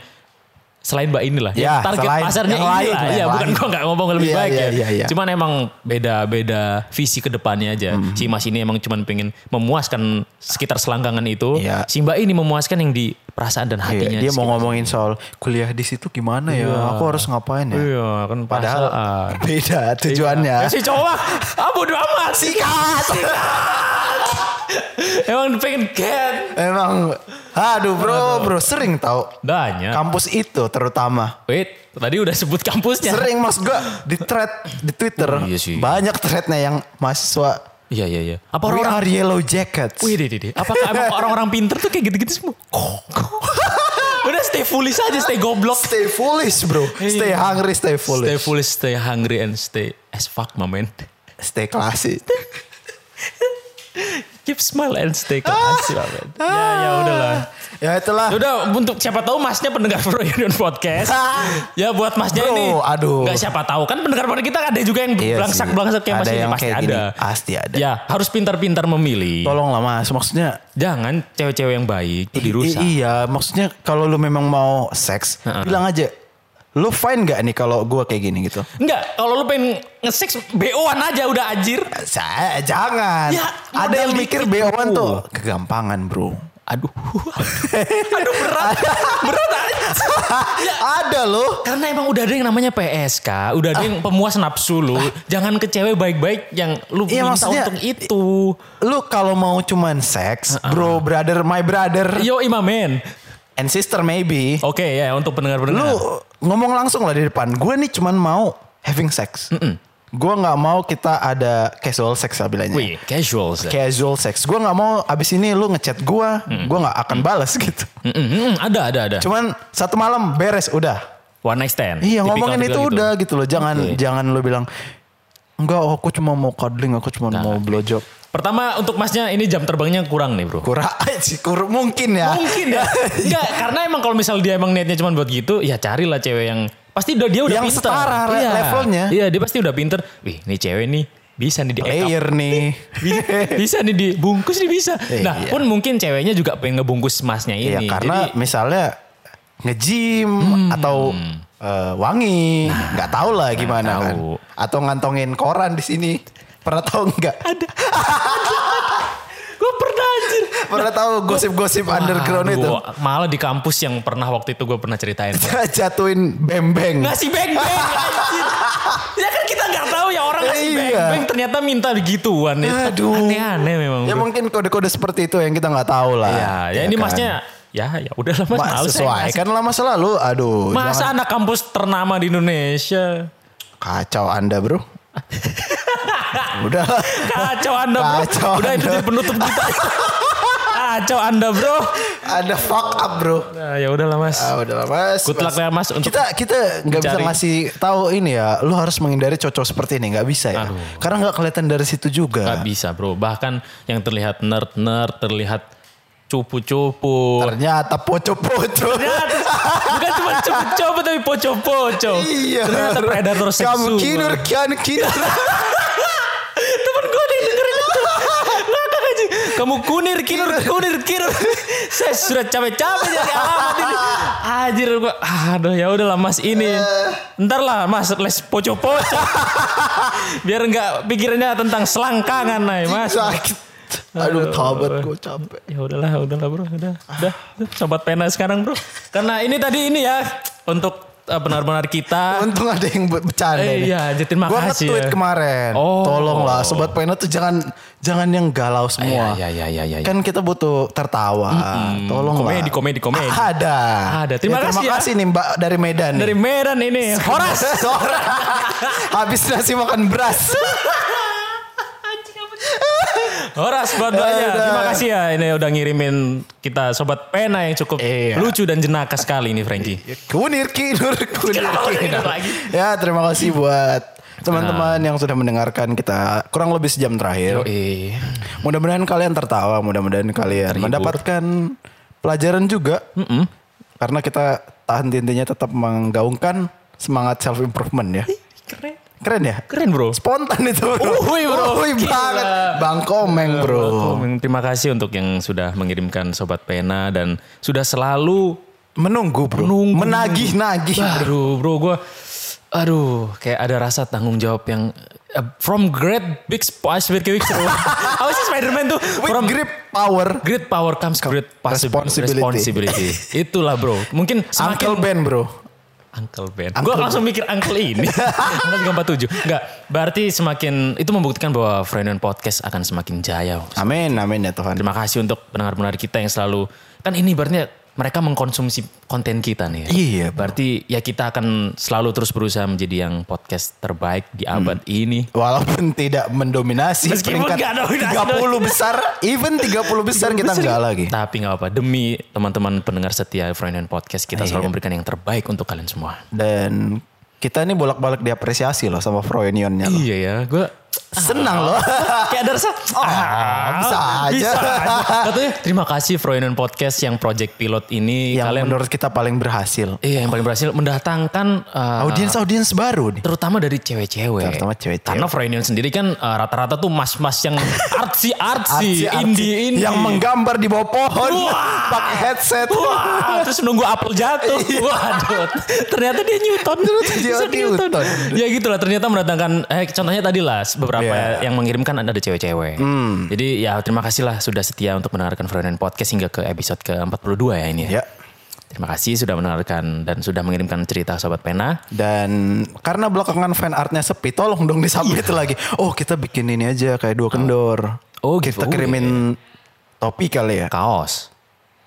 selain Mbak inilah
Ya,
target
selain
pasarnya
yang
inilah
lain lah,
ya
yang
bukan
lain.
gua nggak ngomong lebih
Iya,
baik
iya,
ya
iya, iya.
cuman emang beda-beda visi ke depannya aja
Mm-hmm.
si Mas ini emang cuman pengen memuaskan sekitar selangkangan itu
Iya.
si Mbak ini memuaskan yang di perasaan dan
Iya,
hatinya
dia mau
sekitar.
ngomongin soal kuliah di situ gimana ya? Aku harus ngapain ya?
iya kan
Padahal
perasaan.
beda tujuannya.
Ya, si cowok ah bodo amat
Sikat.
*laughs* emang pengen get
Emang aduh bro, bro sering tahu
banyak
kampus itu terutama
wait tadi udah sebut kampusnya
sering mas gue di thread di Twitter
Ya. Oh, iya sih.
banyak threadnya yang mahasiswa
iya iya iya apa
We
orang-orang
are yellow jackets.
Wih, deh, deh, deh. Apakah
*laughs*
emang orang-orang pinter tuh kayak gitu-gitu semua? Udah stay foolish aja, stay goblok.
Stay foolish bro, stay hungry, stay foolish,
Iya. Stay foolish, stay hungry, and stay as fuck, my man.
stay classy.
Keep smile and stay classy, my man.
*laughs*
Ya, ya udahlah.
Ya itulah.
Udah, untuk siapa tahu masnya pendengar Pro Union
*laughs*
Podcast.
Ah.
ya buat masnya
Bro,
ini.
aduh.
Gak siapa tahu. Kan pendengar pendengar kita ada juga yang
Iya
belangsak-belangsak
sih.
kayak mas
Ada
ini.
yang
Pasti
kayak
ada.
gini, pasti ada.
Ya, harus pintar-pintar memilih.
Tolonglah mas, maksudnya
Jangan cewek-cewek yang baik itu
I-
dirusak.
i- iya, maksudnya kalau lu memang mau seks, bilang aja. Lu fine gak nih kalau gua kayak gini gitu?
Enggak, kalau lu pengen nge-sex BO-an aja udah anjir.
Saya jangan.
Ya,
ada yang
modal
mikir
dikit,
bo
bro.
tuh kegampangan, Bro.
Aduh. *laughs* Aduh berat. berat aja.
ada loh.
Karena emang udah ada yang namanya PSK, udah ada
Ah.
yang pemuas nafsu lu. Jangan ke cewek baik-baik yang lu
Iya,
minta
maksudnya-
untuk itu.
Lu kalau mau cuman seks, bro, brother, my brother
Yo imamen.
and sister maybe.
Oke ya untuk pendengar-pendengar.
Lu ngomong langsung lah di depan. Gue nih cuman mau having sex. Gue nggak mau kita ada casual sex lah bilangnya.
Wih, iya. casual sih.
Casual sex. Gue nggak mau abis ini lu ngechat gue, gue nggak akan balas *laughs* gitu.
Mm-mm, mm-mm, ada ada ada.
Cuman satu malam beres udah.
One night stand.
Iya
Tipikal
ngomongin
juga
itu
gitu.
udah gitu loh. Jangan
Oke.
jangan lu bilang enggak aku cuma mau cuddling, aku cuma mau blowjob.
Pertama untuk masnya ini jam terbangnya kurang nih bro.
Kurang *laughs* sih, kur- mungkin ya.
Mungkin
*laughs*
ya. Enggak, karena emang kalau misal dia emang niatnya cuma buat gitu, ya carilah cewek yang pasti udah dia udah
Yang
pinter.
setara re- levelnya. Oh,
Iya, dia pasti udah pinter. Wih, nih cewek nih bisa nih di
Player *laughs* nih.
bisa nih dibungkus nih bisa.
Iya.
Nah, pun mungkin ceweknya juga pengen ngebungkus masnya
Iya
ini.
karena
Jadi,
misalnya nge-gym atau eh, wangi, Hmm. Nah, nggak tahu lah gimana
tahu.
kan. Atau ngantongin koran di sini. Pernah tahu nggak? Ada.
gue pernah anjir.
Pernah tahu gosip-gosip underground
Aduh,
itu? *laughs*
gua- malah di kampus yang pernah waktu itu gue pernah ceritain.
Jatuhin bembeng.
ngasih beng beng anjir. Ya kan kita nggak tahu ya orang ngasih
Iya.
beng beng ternyata minta begituan ya.
Aduh.
Aneh-aneh memang.
Ya
bro.
mungkin kode-kode seperti itu yang kita nggak tahu lah.
Ya, ya ini
kan?
masnya ya ya udahlah mas,
Mas,
males saya
sesuai
ngasih.
kan lama selalu. Aduh,
Masa
jangan-
anak kampus ternama di Indonesia?
kacau Anda,
*laughs*
Bro. Udah.
Kacau Anda, Bro.
Kacau
Udah itu
Anda.
jadi penutup kita. Kacau Anda, Bro.
Ada fuck up, Bro.
Nah, ya udahlah, Mas.
Ah, udah lah, Mas.
Good luck ya, Mas, untuk
kita kita nggak bisa
mencari-
ngasih tahu ini ya. Lu harus menghindari cocok seperti ini, nggak bisa ya. Karena nggak kelihatan dari situ
Gak
juga.
bisa, Bro. Bahkan yang terlihat nerd-nerd, terlihat cupu-cupu.
Ternyata poco-poco. *laughs*
Ternyata bukan cuma cupu-cupu tapi poco-poco.
Iya.
Ternyata predator seksual.
Kamu kinur, kian kinur.
*laughs* Temen gue ada yang dengerin itu. Ngakak aja. Kamu kunir, kinur, kunir, kinur. Saya sudah capek-capek jadi alamat ini. Anjir gue. Aduh ya udahlah mas ini. Ntar lah mas les poco-poco. Biar nggak pikirannya tentang selangkangan nih mas.
Sakit. Aduh, tabat gue capek.
Ya udahlah, udahlah bro, udah, udah, udah, sobat pena sekarang bro. Karena ini tadi ini ya untuk eh, benar-benar kita.
Untung ada yang buat bercanda.
Eh,
nih.
iya, jadi terima
Gua
kasih
nge-tweet
ya.
kemarin.
Oh.
Tolonglah sobat pena tuh jangan jangan yang galau semua.
Ya, ya, ya, ya, ya.
Kan kita butuh tertawa. Tolong
Komedi, komedi, komedi.
Ada.
Ada. Terima
terima
kasih ya.
kasih nih Mbak dari Medan. nih.
Dari Medan ini, *laughs* Horas.
Sorak. Habis nasi makan beras.
Horas buat banyak.
udah.
Terima kasih ya ini udah ngirimin kita sobat pena yang cukup
Iya.
lucu dan jenaka sekali ini Frankie. *laughs*
Kunir kinur kunir
Kenapa lagi?
kinur. Ya terima kasih buat teman-teman yang sudah mendengarkan kita kurang lebih sejam terakhir.
Yoi.
Mudah-mudahan kalian tertawa, mudah-mudahan kalian mendapatkan pelajaran juga. Karena kita tahan intinya tetap menggaungkan semangat self improvement ya.
Keren.
Keren ya?
Keren bro.
Spontan itu bro.
Uhuy, bro.
Uhuy
Gila.
banget. Bang Komeng bro.
Komeng, Oh, Terima kasih untuk yang sudah mengirimkan Sobat Pena dan sudah selalu
Menunggu bro.
Menunggu.
Menagih-nagih.
Aduh bro gue Aduh kayak ada rasa tanggung jawab yang uh, From great big responsibility *laughs* Apa sih Spiderman tuh?
With
From
grip power.
great power comes great possi-
Responsibility.
responsibility. Itulah bro. Mungkin semakin
Uncle Ben bro.
Uncle Ben. Gue langsung mikir Uncle *laughs* ini. Uncle 347. Enggak. Berarti semakin itu membuktikan bahwa Friend and Podcast akan semakin jaya.
Amin, amin ya Tuhan.
Terima kasih untuk pendengar-pendengar kita yang selalu kan ini berarti mereka mengkonsumsi konten kita nih. ya.
Iya, bro.
Berarti ya kita akan selalu terus berusaha menjadi yang podcast terbaik di abad ini.
Walaupun tidak mendominasi
Meskipun
peringkat
nggak dominasi.
30 besar, even 30 besar kita enggak lagi.
Tapi nggak apa demi teman-teman pendengar setia Friend and Podcast kita selalu memberikan yang terbaik untuk kalian semua.
Dan kita ini bolak-balik diapresiasi loh sama Froenionnya loh.
Iya ya, gue
Senang
*laughs*
loh.
kayak ada rasa
Ah, bisa aja.
Katanya terima kasih Froynon Podcast yang project pilot ini
Yang
kalian
menurut kita paling berhasil.
iya yang paling berhasil mendatangkan eh,
Audiens-audiens baru nih.
terutama dari cewek-cewek.
Terutama cewek-cewek.
Karena Froynon sendiri kan eh, rata-rata tuh mas-mas
*laughs*
yang artsy artsy,
Artsy-artsy
indie indie
Yang menggambar di bawah pohon. Pakai headset.
Wah, terus nunggu apel jatuh. Waduh, ternyata dia Newton.
dia
Ternyata
Newton.
Ya gitulah, ternyata mendatangkan. Eh, contohnya tadi lah, beberapa
Iya.
yang mengirimkan ada cewek-cewek. Jadi ya terima kasih lah sudah setia untuk mendengarkan Frontend Podcast hingga ke episode ke 42 ya ini. ya.
Ya.
Terima kasih sudah mendengarkan dan sudah mengirimkan cerita Sobat Pena.
Dan karena belakangan fan artnya sepi, tolong dong disubmit
Iya.
lagi. Oh kita bikin ini aja kayak dua kendor.
Oh, iya.
kita
giveaway.
kirimin topi kali ya.
Kaos.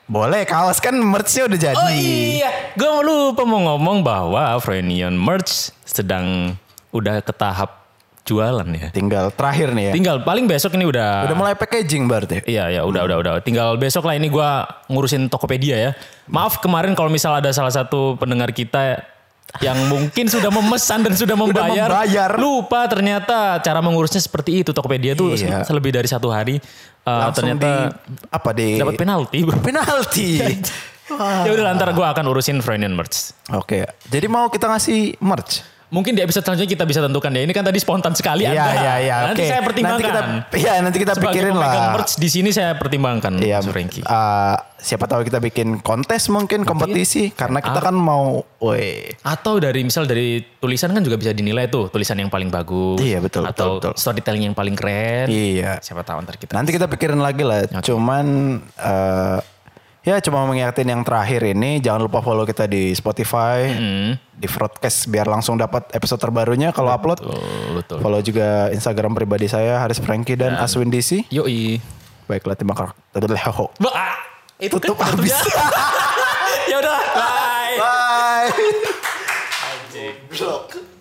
Boleh kaos kan merchnya udah jadi.
Oh iya, gue lupa mau ngomong bahwa Frenion Merch sedang udah ke tahap jualan ya.
Tinggal terakhir nih ya.
Tinggal paling besok ini udah
Udah mulai packaging berarti.
Iya ya udah udah udah tinggal besok lah ini gua ngurusin Tokopedia ya. Maaf kemarin kalau misal ada salah satu pendengar kita yang mungkin sudah memesan dan sudah membayar,
membayar.
lupa ternyata cara mengurusnya seperti itu Tokopedia tuh
Iya.
se- lebih dari satu hari uh,
Langsung
ternyata
di apa di Ah.
dapat penalti. bro.
*laughs* penalti. Wah.
ya udah ntar gua akan urusin Frenion merch.
Oke. Jadi mau kita ngasih merch.
Mungkin di episode selanjutnya kita bisa tentukan ya. Ini kan tadi spontan sekali
Iya
Anda.
iya iya.
Nanti
oke.
saya pertimbangkan.
Nanti kita, iya nanti kita
Sebagai
pikirin
pemegang
lah.
merch di sini saya pertimbangkan
Iya.
Mas Franky.
eh, siapa tahu kita bikin kontes mungkin kompetisi karena
Ah.
kita kan mau, woi.
Atau dari misal dari tulisan kan juga bisa dinilai tuh tulisan yang paling bagus.
Iya, betul,
Atau
betul, betul.
storytelling yang paling keren.
Iya.
Siapa tahu ntar kita.
Nanti kita pikirin lagi lah. Cuman eh, ya cuma mengingatin yang terakhir ini jangan lupa follow kita di Spotify, di broadcast biar langsung dapat episode terbarunya kalau upload.
Mm-hmm. Betul, betul.
Follow juga Instagram pribadi saya Haris Franky dan Aswin DC.
Yoi.
Baiklah terima kasih.
Bah, ah, itu
Tutup
kan
habis.
tutupnya. *laughs*
*laughs*
ya udah, bye.
Bye.